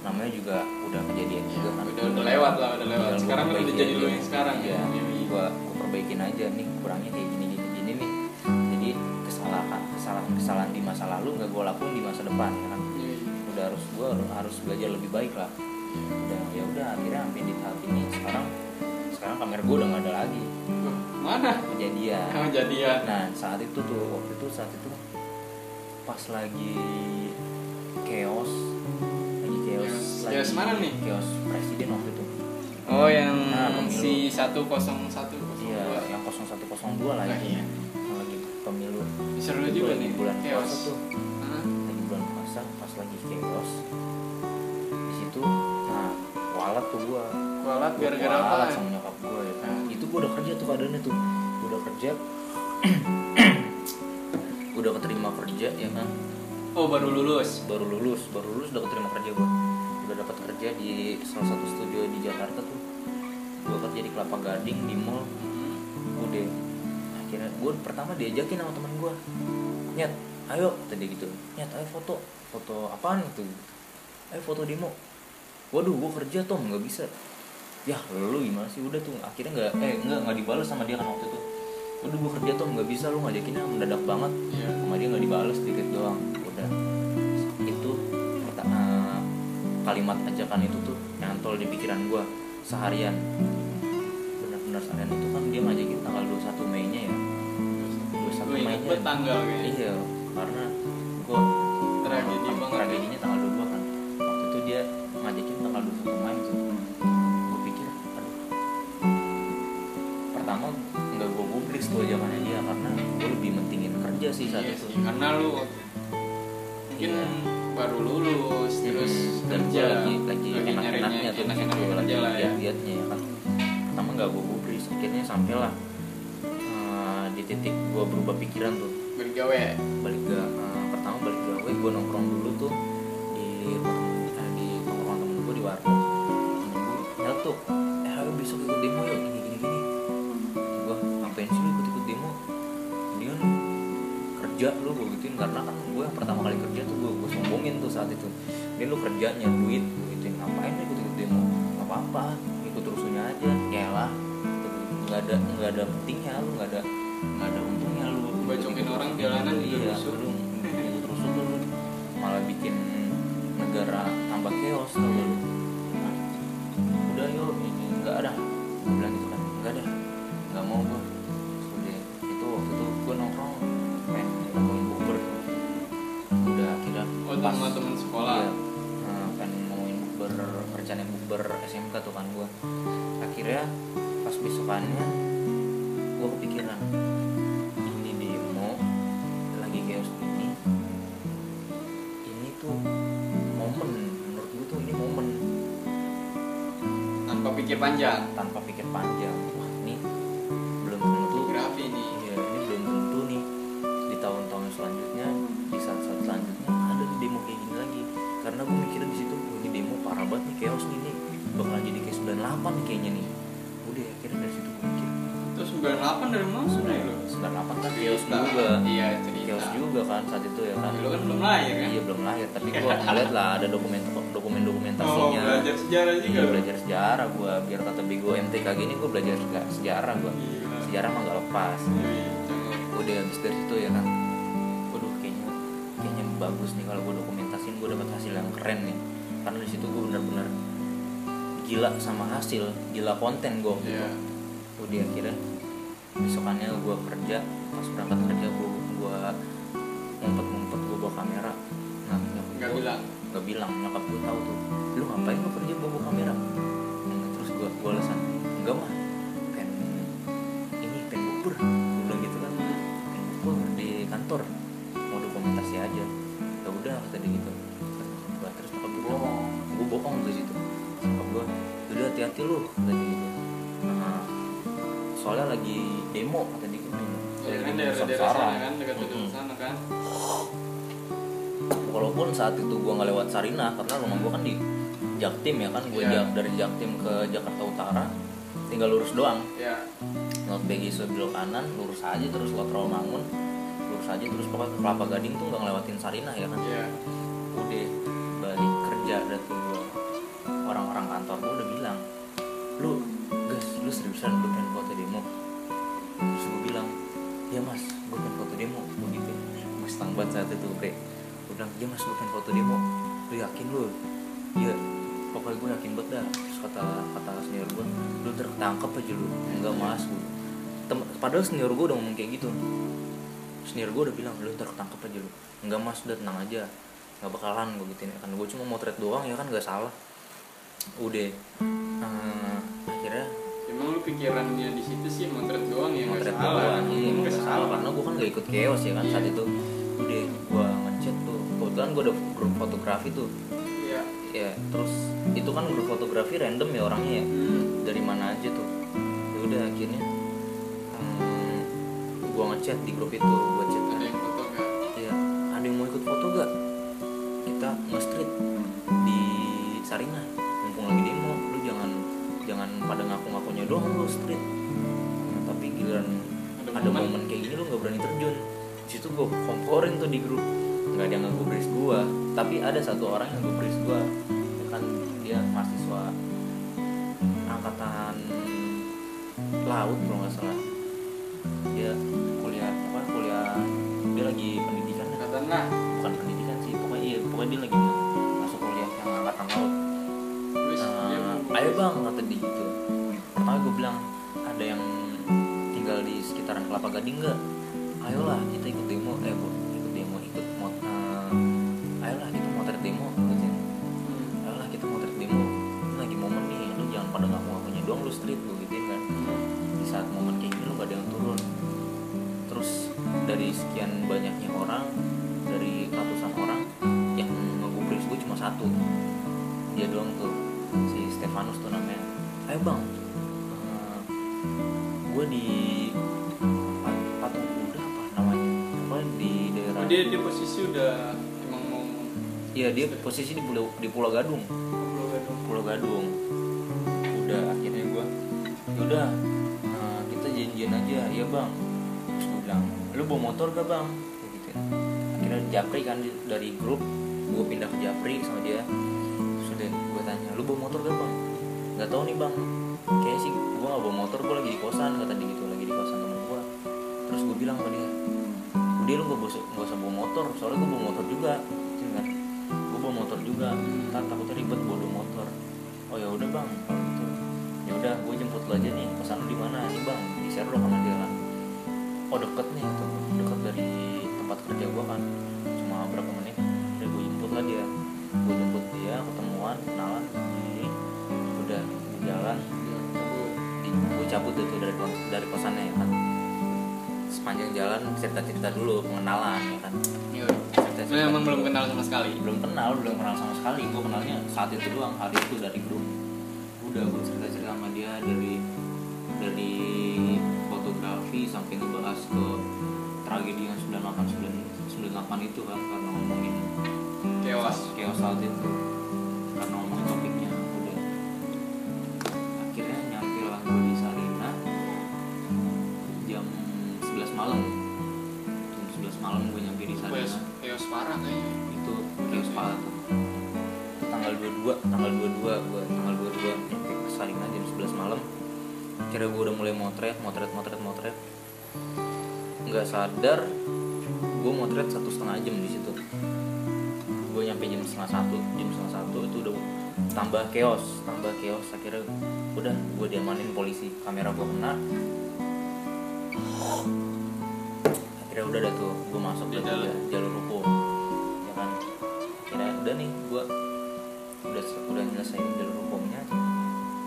namanya juga udah kejadian juga kan
udah udah lewat lah udah lewat
Tinggal
sekarang
gua
kan udah
perbaikin
jadi lu
aja.
yang sekarang
Iya,
ya
gua gua perbaikin aja nih kurangnya kayak gini gini gini nih jadi kesalahan kesalahan kesalahan di masa lalu nggak gua lakuin di masa depan ya kan udah harus gua harus belajar lebih baik lah udah ya udah akhirnya sampai di tahap ini sekarang sekarang kamera gua udah nggak ada lagi
Wah, mana
kejadian
kamu jadian
Nah saat itu tuh waktu itu saat itu pas lagi chaos lagi chaos
Chaos-
lagi
chaos mana nih?
chaos presiden waktu itu
oh yang
Nah, pemilu.
si satu kosong satu
iya yang 0102 lagi
Iya.
lagi pemilu
seru
Itu
juga
lagi
nih
bulan
chaos
puasa tuh
Hah?
lagi bulan puasa pas lagi chaos di situ nah walat tuh gua
kualat gara-gara
Gua
apa
kualat sama nyokap gua ya kan itu gua udah kerja tuh keadaannya tuh Gua udah kerja udah keterima kerja ya kan
oh baru lulus
baru lulus baru lulus udah keterima kerja gue udah dapat kerja di salah satu studio di Jakarta tuh gue kerja di Kelapa Gading di mall udah akhirnya gue pertama diajakin sama teman gue nyet ayo tadi gitu nyet ayo foto foto apaan itu ayo foto demo waduh gue kerja tom nggak bisa ya lu gimana sih udah tuh akhirnya nggak eh nggak nggak dibalas sama dia kan waktu itu waduh gue kerja tom nggak bisa lu ngajakinnya mendadak banget
Iya.
sama dia nggak dibales dikit doang udah itu perta- eh, kalimat ajakan itu tuh nyantol di pikiran gua seharian benar-benar seharian itu kan dia ngajakin tanggal 21 Mei nya ya 21
gue
Mei nya
inget banget tanggal kayaknya
iya karena gue
Tragedi banget. ya.
tragedinya tanggal 22 kan waktu itu dia ngajakin tanggal 21 main tuh gue pikir aduh pertama nggak gue publis tuh zamannya dia karena gue lebih mentingin kerja sih saat
Iya
itu
sih, karena lu mungkin
Iya.
baru lulus terus
dan
kerja
gua lagi lagi enak-enaknya tuh
enak
gua
kerja lah ya
lihat-lihatnya ya kan pertama nggak gue gubris akhirnya sampailah eh, di titik gue berubah pikiran tuh
bergawe
balik ke eh, pertama balik ke gue gue nongkrong dulu tuh di rumah temen- eh, di nongkrong temen gue di warung ya tuh eh ayo besok ikut demo yuk gini gini gini gue ngapain sih lu ikut ikut demo dia kerja lu gue gituin karena kan gue yang pertama kali kerja tuh gue gue sombongin tuh saat itu dia lu kerjanya duit gue gituin ngapain lu ikut ikut demo nggak apa apa ikut urusannya aja ya lah nggak ada nggak ada pentingnya lu nggak ada nggak ada untungnya lu
Bacokin orang jalanan di
iya,
rusuh.
lu ikut rusuh lu malah bikin negara tambah chaos tau gak lu Nah, udah yuk ini nggak ada gue bilang gitu kan nggak ada nggak mau gue udah itu waktu itu gue nongkrong main nongkrong bukber udah kira
oh sama teman sekolah
Iya. Nah, pengen ngomongin bukber rencana bukber SMK tuh kan gue akhirnya pas besokannya gue kepikiran ini demo lagi chaos ini ini tuh momen menurut gue tuh ini momen
tanpa pikir panjang
tanpa pikir panjang wah ini belum tentu
grafi nih
Iya, ini belum tentu nih di tahun-tahun selanjutnya di saat-saat selanjutnya ada nih demo kayak gini lagi karena gue mikirnya di situ "Wah, ini demo parah banget nih chaos nih nih bakalan jadi kayak 98 nih kayaknya nih udah akhirnya dari situ gue mikir
terus 98 dari mana ya lu
98 kan chaos
Cerita.
juga
iya cerita
chaos juga kan saat itu ya kan
lu kan belum lahir kan
iya belum lahir tapi gue ngeliat lah ada dokumen dokumen
oh
dokumentasinya
belajar sejarah juga
Iya,
lu.
belajar sejarah gue biar kata bego MTKG ini gue belajar sega- sejarah gue
Gila.
sejarah mah gak lepas
Iya, cakep.
udah habis dari situ ya kan waduh kayaknya kayaknya bagus nih kalau gue dokumentasin gue dapat hasil yang keren nih karena di situ gue bener-bener gila sama hasil gila konten gue waktu
Iya.
itu udah akhirnya besokannya gue kerja pas berangkat kerja gue gue ngumpet-ngumpet gue bawa kamera nah nyokap
nggak
gua-
bilang
nggak bilang nyokap gue tahu tuh lu ngapain lu kerja bawa kamera Hmm, terus gue gue alasan enggak mah pen ini pen bubur gue bilang gitu kan pen bubur di kantor mau dokumentasi aja ya udah kata dia gitu Gua- terus nyokap gue
bohong
gue bohong di situ nyokap gue udah hati-hati lu kata dia gitu Nah, soalnya lagi demo kata dia gitu
ya kan
demo
daerah-daerah
Nusantara.
sana kan dekat
Mm-mm.
daerah sana kan
walaupun saat itu gua nggak lewat Sarinah karena rumah gua kan di Jaktim ya kan gue
Iya.
dari Jaktim ke Jakarta Utara tinggal lurus doang
ya
lewat BGI belok kanan lurus aja terus lewat Rawamangun lurus aja terus pokoknya ke Kelapa Gading tuh nggak ngelewatin Sarinah ya kan
ya
udah balik kerja dan tuh gua. orang-orang kantor gua udah bilang lu guys lu seriusan lu pengen foto demo terus gue bilang ya mas gue pengen foto demo gue gitu gue setang banget saat itu bre gue bilang ya mas gue pengen foto demo lu yakin lu ya pokoknya gue yakin banget dah terus kata kata senior gue lu ntar ketangkep aja lu enggak mas gue Tem- padahal senior gue udah ngomong kayak gitu senior gue udah bilang lu ntar ketangkep aja lu enggak mas udah tenang aja nggak bakalan gue gituin ya kan gue cuma motret doang ya kan nggak salah udah eh, akhirnya
emang lu pikirannya di situ sih motret doang ya nggak
motret
salah
doang iya
Nggak
nggak salah karena gue kan nggak ikut chaos ya kan saat
Iya.
itu udah gue ngechat tuh kebetulan gue ada grup fotografi tuh
iya
ya terus itu kan grup fotografi random ya orangnya ya
Hmm.
dari mana aja tuh ya udah akhirnya hmm, gue ngechat di grup itu gue chat kan.
ada yang foto nggak
ya ada yang mau ikut foto gak kita nge-street di Sarinah mumpung lagi demo lu jangan jangan pada ngaku-ngakunya doang lu street Nah, tapi giliran
Ada
ada
momen.
momen kayak gini lu nggak berani terjun di situ gue komporin tuh di grup nggak ada yang ngegubris gua tapi ada satu orang yang ngegubris gua itu kan dia mahasiswa angkatan laut kalau nggak salah dia kuliah apa kuliah dia lagi pendidikan ya?
angkatan lah
bukan pendidikan sih pokoknya iya pokoknya dia lagi masuk kuliah yang angkatan laut
terus iya, dia
Eh,
mau-
ayo bang kata dia gitu pertama gue bilang ada yang tinggal di sekitaran kelapa gading nggak ayolah kita ikut demo eh bu ikut demo ikut mot eh, ayolah kita motret demo gitu ayolah kita motret demo ini lagi momen nih lu jangan pada ngaku ngakunya doang lu street lu gitu kan
Hmm.
di saat momen kayak gini lu gak ada yang turun terus dari sekian banyaknya orang dari ratusan orang yang ngegubris gue cuma satu dia doang tuh si Stefanus tuh namanya ayo bang eh, gue di Pat- patung kuda apa namanya apa di daerah
Oh, dia dia posisi udah emang mau
iya dia posisi di pulau di pulau gadung
ngobrol ya dong.
Pulau Gadung udah akhirnya gue yaudah eh, kita janjian aja ya bang terus gue bilang lu bawa motor gak bang Gua gitu akhirnya Japri kan di- dari grup gue pindah ke Japri sama dia terus udah gue tanya lu bawa motor gak bang nggak tahu nih bang kayaknya sih gue gak bawa motor gue lagi di kosan kata dia gitu lagi di kosan temen gue terus gue bilang sama dia udah lu gak usah, gak usah bawa motor soalnya gue bawa motor juga Gitu kan gue bawa motor juga ntar takutnya ribet bawa dua motor oh ya udah bang kalau gitu ya udah gue jemput lo aja nih pesan lu di mana nih bang di Serdok sama dia kan oh deket nih tuh deket dari tempat kerja gue kan cuma berapa menit udah gue jemput lah dia gue jemput dia ketemuan kenalan ini udah di jalan
Ya, cabut.
gue cabut deh tuh dari kon- dari kosannya ya kan sepanjang jalan cerita cerita dulu pengenalan ya kan
Iya. Lu emang belum kenal sama sekali.
belum kenal belum kenal sama sekali gue kenalnya saat itu doang hari itu dari grup udah gue cerita cerita sama dia dari dari fotografi sampai ngebahas ke tragedi yang 98 98 itu kan karena ngomongin
Kewas.
chaos saat itu karena ngomongin topiknya udah akhirnya nyampe lah gue di Sarina jam 11 malam jam 11 malam gue nyampe di
Kewas,
Sarina
kewas parah kayaknya.
itu chaos parah tuh tanggal 22 tanggal 22 gue tanggal 22 nyampe ke Sarina jam 11 malam kira gue udah mulai motret motret motret motret nggak sadar gue motret satu setengah jam di situ gue nyampe jam setengah satu jam setengah satu itu udah tambah chaos tambah chaos akhirnya udah gue diamanin polisi kamera gue kena akhirnya udah dah tuh gue masuk
Di
ke
dalam.
jalur hukum ya kan akhirnya udah nih gue udah udah nyelesain jalur hukumnya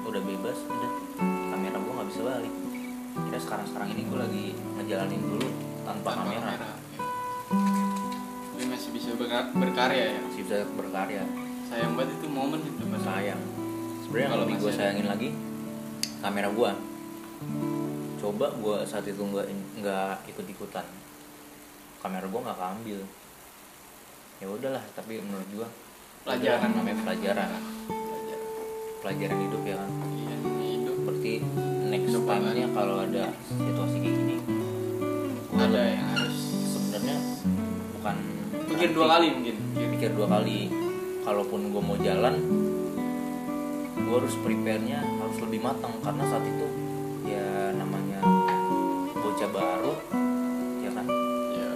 udah bebas udah kamera gue nggak bisa balik kira sekarang sekarang ini gue lagi ngejalanin dulu tanpa,
Tanpa
kamera
kamera. iya. Dia masih bisa berka- berkarya ya.
masih bisa berkarya
Sayang banget itu momen itu Mas.
sayang sebenarnya yang
Kalau
lebih
masih
gue
ada.
sayangin lagi kamera gue coba gue saat itu nggak nggak ikut ikutan kamera gue nggak keambil ya udahlah tapi menurut gue
Pelajaran namanya.
pelajaran pelajaran hidup ya kan
Iya, ini hidup
seperti next
Hidup
time nya
banget.
kalau ada situasi kayak gini gua
ada yang harus
sebenarnya bukan
Pikir
berarti-
dua kali mungkin.
mikir dua kali kalaupun gue mau jalan gue harus prepare-nya harus lebih matang karena saat itu ya namanya bocah baru ya kan
Ya.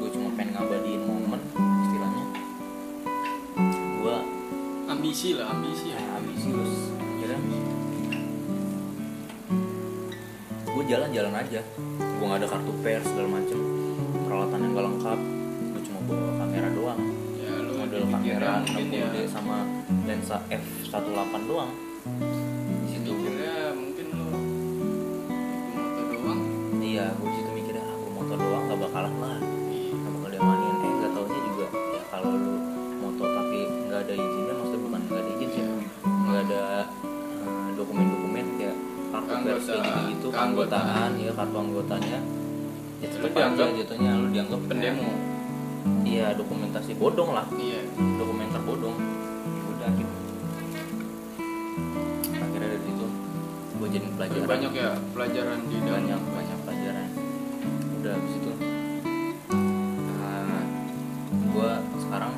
gue cuma pengen ngabadiin momen istilahnya gue
Ambisi lah, ambisi ya.
ya, ambisius akhirnya gue jalan-jalan aja gue nggak ada kartu per segala macem peralatan yang gak lengkap gue cuma bawa kamera doang
Ya lu
model
ada pikiran
kamera
mungkin
60D
ya.
sama lensa f18 doang di situ
Mikirnya mungkin lu motor doang.
iya gue situ mikirnya aku motor doang gak bakalan lah gak bakal diamanin eh gak taunya juga ya kalau lu moto tapi nggak ada izinnya maksudnya bukan nggak ada izin ya nggak ada eh, dokumen-dokumen ya kartu
Keanggota-
pers kayak gitu gitu keanggotaan
keanggotaan.
ya kartu anggotanya ya
Lu
tetap aja
dianggap
jatuhnya lu dianggap ya.
Pendemo.
iya dokumentasi bodong lah
Iya.
dokumenter bodong ya udah gitu akhirnya dari itu gue jadi
Tapi
pelajaran
banyak ya pelajaran di dalam.
banyak banyak pelajaran udah habis itu nah, gue sekarang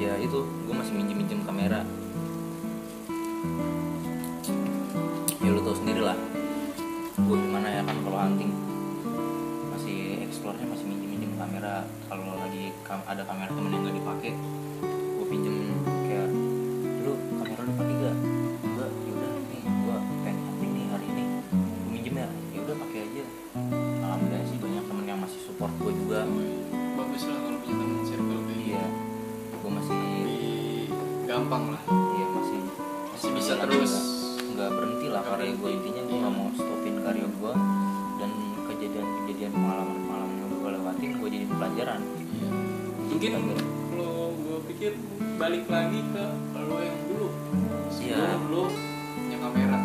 ya itu gue masih minjem minjem kamera ya lu tau sendiri lah gue gimana ya kan kalau hunting masih explore-nya masih minjem minjem kamera kalau lagi kam- ada kamera temen yang nggak dipakai gue pinjem kayak lu kamera lu pakai gak enggak yaudah nih gue pengen hunting nih hari ini gue minjem ya yaudah pakai aja alhamdulillah sih banyak Iya. temen yang masih support gue juga
Bagus lah kalau bisa
iya, pelajaran
Iya. mungkin kalau gue pikir balik lagi ke lo yang dulu sebelum
Iya.
lo punya kamera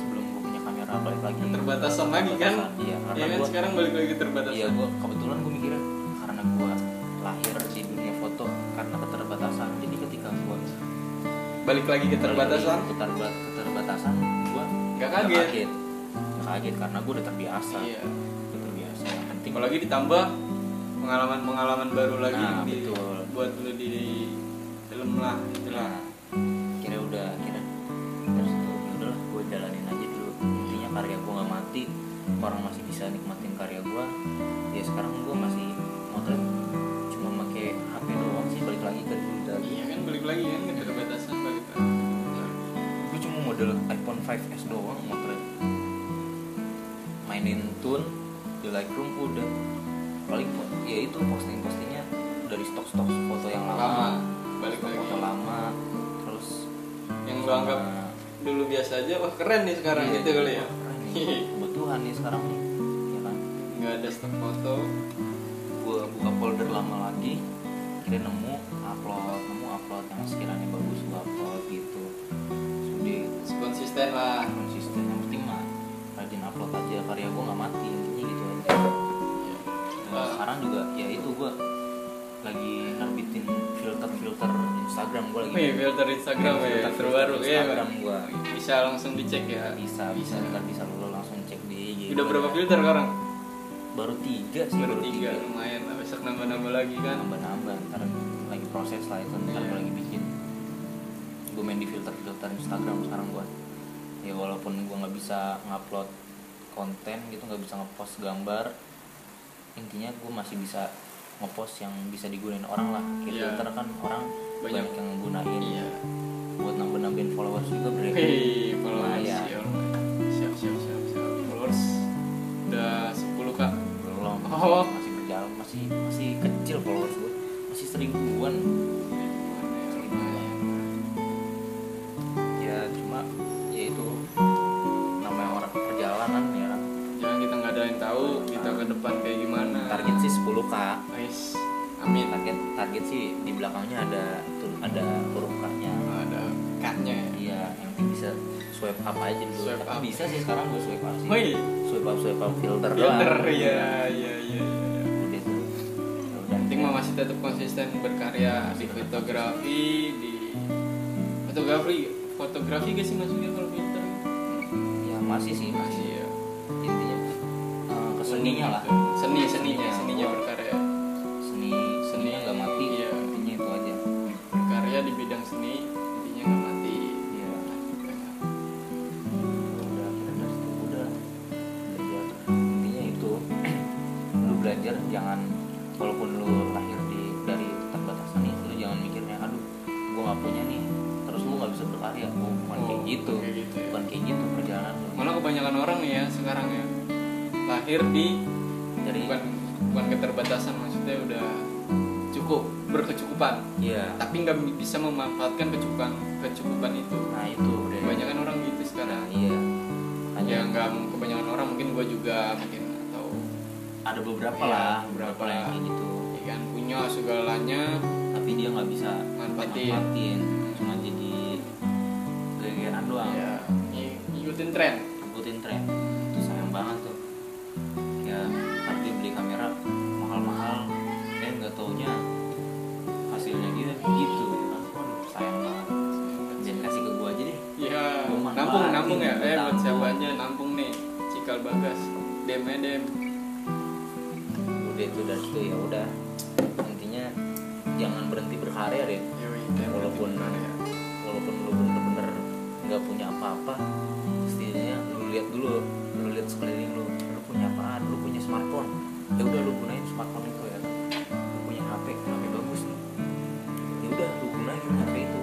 sebelum gue punya kamera balik lagi
keterbatasan lagi kan
Keterbatasan, iya karena
ya kan
gue
sekarang balik lagi keterbatasan
iya gue kebetulan gue mikirnya karena gue lahir di dunia foto karena keterbatasan jadi ketika gue
balik lagi keterbatasan
keterba- keterbatasan gue
Nggak kaget.
kaget Nggak kaget karena gue udah terbiasa
iya
udah terbiasa yang penting
apalagi ditambah pengalaman-pengalaman baru lagi
Nah,
di-
betul.
buat lo di film lah itulah
kira udah kira terus tuh ya udahlah gue jalanin aja dulu intinya karya gue nggak mati orang masih bisa nikmatin karya gue ya sekarang gue masih motret cuma pakai HP doang sih balik lagi ke dulu lagi
iya kan balik lagi kan keterbatasan balik lagi
gue cuma model iPhone 5s doang motret mainin tune di Lightroom udah paling po- ya itu posting postingnya dari stok-stok foto yang
lama
lama,
balik
stok
lagi
foto lama terus
yang lo anggap
eh,
dulu biasa aja wah keren nih sekarang
Iya,
gitu kali ya
keren nih. kebutuhan nih sekarang nih ya kan
nggak ada stok foto
gue buka folder lama lagi kira nemu upload nemu upload yang sekiranya bagus gue upload gitu sudah
konsisten lah
konsisten yang penting mah rajin upload aja karya gue nggak mati intinya gitu aja Dan
Ah.
sekarang juga ya itu gue lagi nerbitin filter filter Instagram gue lagi
Wih, filter Oh, Instagram ya,
Filter-filter
terbaru ya.
Instagram gua.
Bisa langsung dicek ya.
bisa bisa ntar bisa lo langsung cek di IG
Udah
gua.
berapa filter sekarang?
baru tiga sih
Baru tiga, lumayan lah. Besok nambah-nambah lagi kan.
nambah-nambah ntar lagi proses lah itu ntar
Iya.
gua lagi bikin gue main di filter filter Instagram sekarang gue ya walaupun gue nggak bisa ngupload konten gitu nggak bisa ngepost gambar intinya gue masih bisa ngepost yang bisa digunain orang lah kayak
Iya.
filter kan orang banyak,
Banyak.
yang nggunain
Iya.
buat nambah-nambahin followers juga bre
Hei, followers.
Lumayan.
ya Allah. Siap, siap, siap, siap. Followers udah 10 kak.
belum
Oh.
masih berjalan masih masih kecil followers gue masih seribuan ya cuma ya itu namanya orang perjalanan ya kan.
Jangan kita nggak ada yang tahu kita ke depan kayak gimana.
target sih 10 k
Guys, amin.
target target sih di belakangnya ada tur- ada huruf k nya
Ada ya? katnya.
iya yang penting bisa swipe up aja dulu
Swipe
Tapi
up.
bisa sih sekarang gue swipe up sih
Woi,
swipe up swipe up filter doang
filter ya, ya, ya, ya.
udah tuh udah
penting mah masih tetap konsisten berkarya di fotografi di fotografi fotografi gak sih maksudnya kalau pinter
ya masih sih masih
ya
intinya eh, keseninya lah
seni seninya
Seninya.
seninya berkarya
seni seninya nggak mati
Iya.
intinya itu aja
berkarya di bidang seni intinya nggak mati
Iya. udah kita dari situ udah belajar intinya itu lu belajar jangan walaupun lu lahir di dari keterbatasan nih lu jangan mikirnya aduh gua nggak punya nih terus lu nggak bisa berkarya oh, bukan kayak
Oh,
gitu
kayak gitu ya.
bukan kayak gitu perjalanan lu
malah kebanyakan orang nih ya sekarang ya lahir di
dari
bukan bukan keterbatasan maksudnya udah cukup berkecukupan
iya
tapi nggak bisa memanfaatkan kecukupan kecukupan itu
nah itu udah
kebanyakan orang gitu sekarang
nah, iya
ya
hanya
nggak kebanyakan orang mungkin gue juga mungkin atau
ada beberapa
Iya,
lah beberapa
beberapa.
yang kayak gitu
ya kan punya segalanya
tapi dia nggak bisa
Manfaatin.
manfaatin cuma jadi gegeran doang
ya ng- ngikutin tren
ngikutin tren itu sayang banget tuh ya tadi beli kamera mahal-mahal eh nggak taunya hasilnya dia gitu Aduh, sayang banget jangan kasih ke gua aja deh
ya
Gua manfaatin,
nampung nampung ya eh buat
nampung.
siapa aja nampung nih cikal bagas dem aja, dem
udah itu dan itu ya udah intinya jangan berhenti berkarya deh
Yoi, dem
Walaupun-
Dem, ya.
walaupun lu bener-bener nggak punya apa-apa setidaknya lu lihat dulu lu lihat sekeliling lu lu punya apaan lu punya smartphone ya udah lu gunain smartphone itu ya lu punya HP HP bagus nih ya udah lu gunain HP itu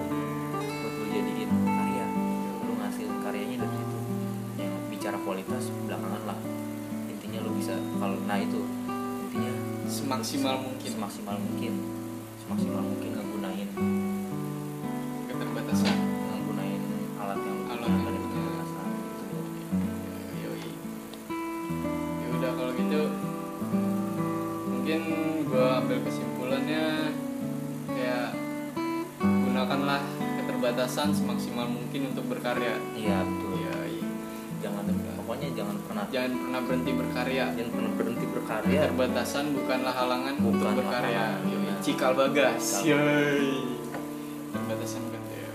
buat lu jadiin karya lu ngasilin karyanya dari situ yang bicara kualitas belakangan lah intinya lu bisa kalau nah itu intinya
semaksimal mungkin
semaksimal mungkin semaksimal mungkin ngegunain
keterbatasan
menggunain alat yang
Alat
alat
yang
dari
punya.
kecerdasan gitu
Yoi. ya udah kalau gitu mungkin gua ambil kesimpulannya kayak gunakanlah keterbatasan semaksimal mungkin untuk berkarya
iya betul
Iya, iya.
jangan pokoknya jangan pernah
jangan pernah berhenti berkarya
jangan pernah berhenti berkarya
Iya. keterbatasan bukanlah halangan untuk
Bukanlah
berkarya
halangan,
Yoi,
iya.
cikal bagas
Cikal
Yoi. keterbatasan bukan ya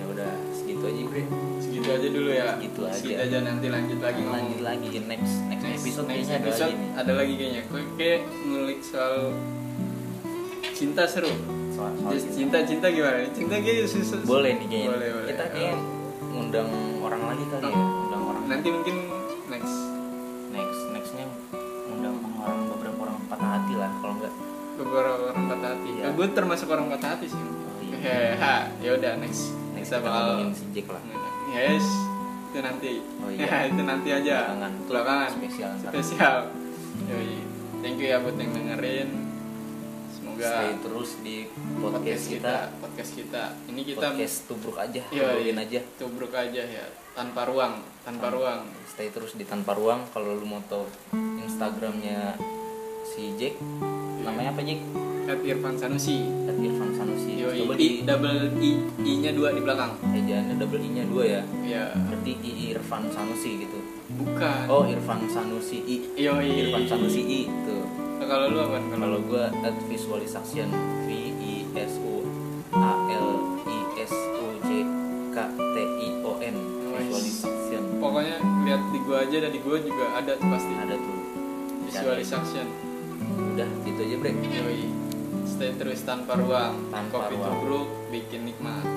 ya udah segitu aja bre
segitu aja dulu ya
Segitu aja.
segitu aja nanti lanjut lagi ngomong
lanjut lagi ke next next, episode kayaknya ada
episode
lagi nih
ada lagi kayaknya gue kayak ngulik soal cinta seru
soal, soal
Just
cinta.
cinta cinta gimana cinta kayak susah
Oh, iya. boleh nih kayaknya
boleh, boleh. Iya.
kita kayak ngundang orang lagi kali ya ngundang orang
nanti mungkin next
next nextnya ngundang orang beberapa orang patah hati lah kalau enggak
beberapa orang patah hati
Iya.
Eh, gue termasuk orang patah hati sih
iya.
Hehe, ha ya udah next
next
kita
kita
bakal
ngomongin si Jack lah
yes itu nanti
Oh, iya.
itu nanti aja
Belakangan. Itu
belakangan
spesial ntar.
spesial Yoi. thank you ya buat yang dengerin semoga
stay terus di podcast kita
podcast kita ini kita Iya,
podcast tubruk aja
Yoi.
tuburin aja
tubruk aja ya tanpa ruang
Hmm.
tanpa ruang
stay terus di tanpa ruang kalau lu mau tahu instagramnya si Jack
Iya.
namanya apa Jack
at Irfan Sanusi
At Irfan Sanusi
Yoi.
coba
Iya, I,
di
double i i nya dua di belakang
ejaannya double i nya dua ya
ya
berarti I Irfan Sanusi gitu
bukan
oh Irfan Sanusi I
Yoi.
Irfan Sanusi I tuh
Nah, kalau lu apa kalau
kalau gue at visualisasian V I S U A L I S U J K T I O N visualisasian
pokoknya lihat di gua aja dan di gua juga ada tuh pasti
ada tuh
visualisation
udah gitu aja bre
Yoi. stay terus tanpa ruang
Tanpa
kopi
ruang.
tubruk bikin nikmat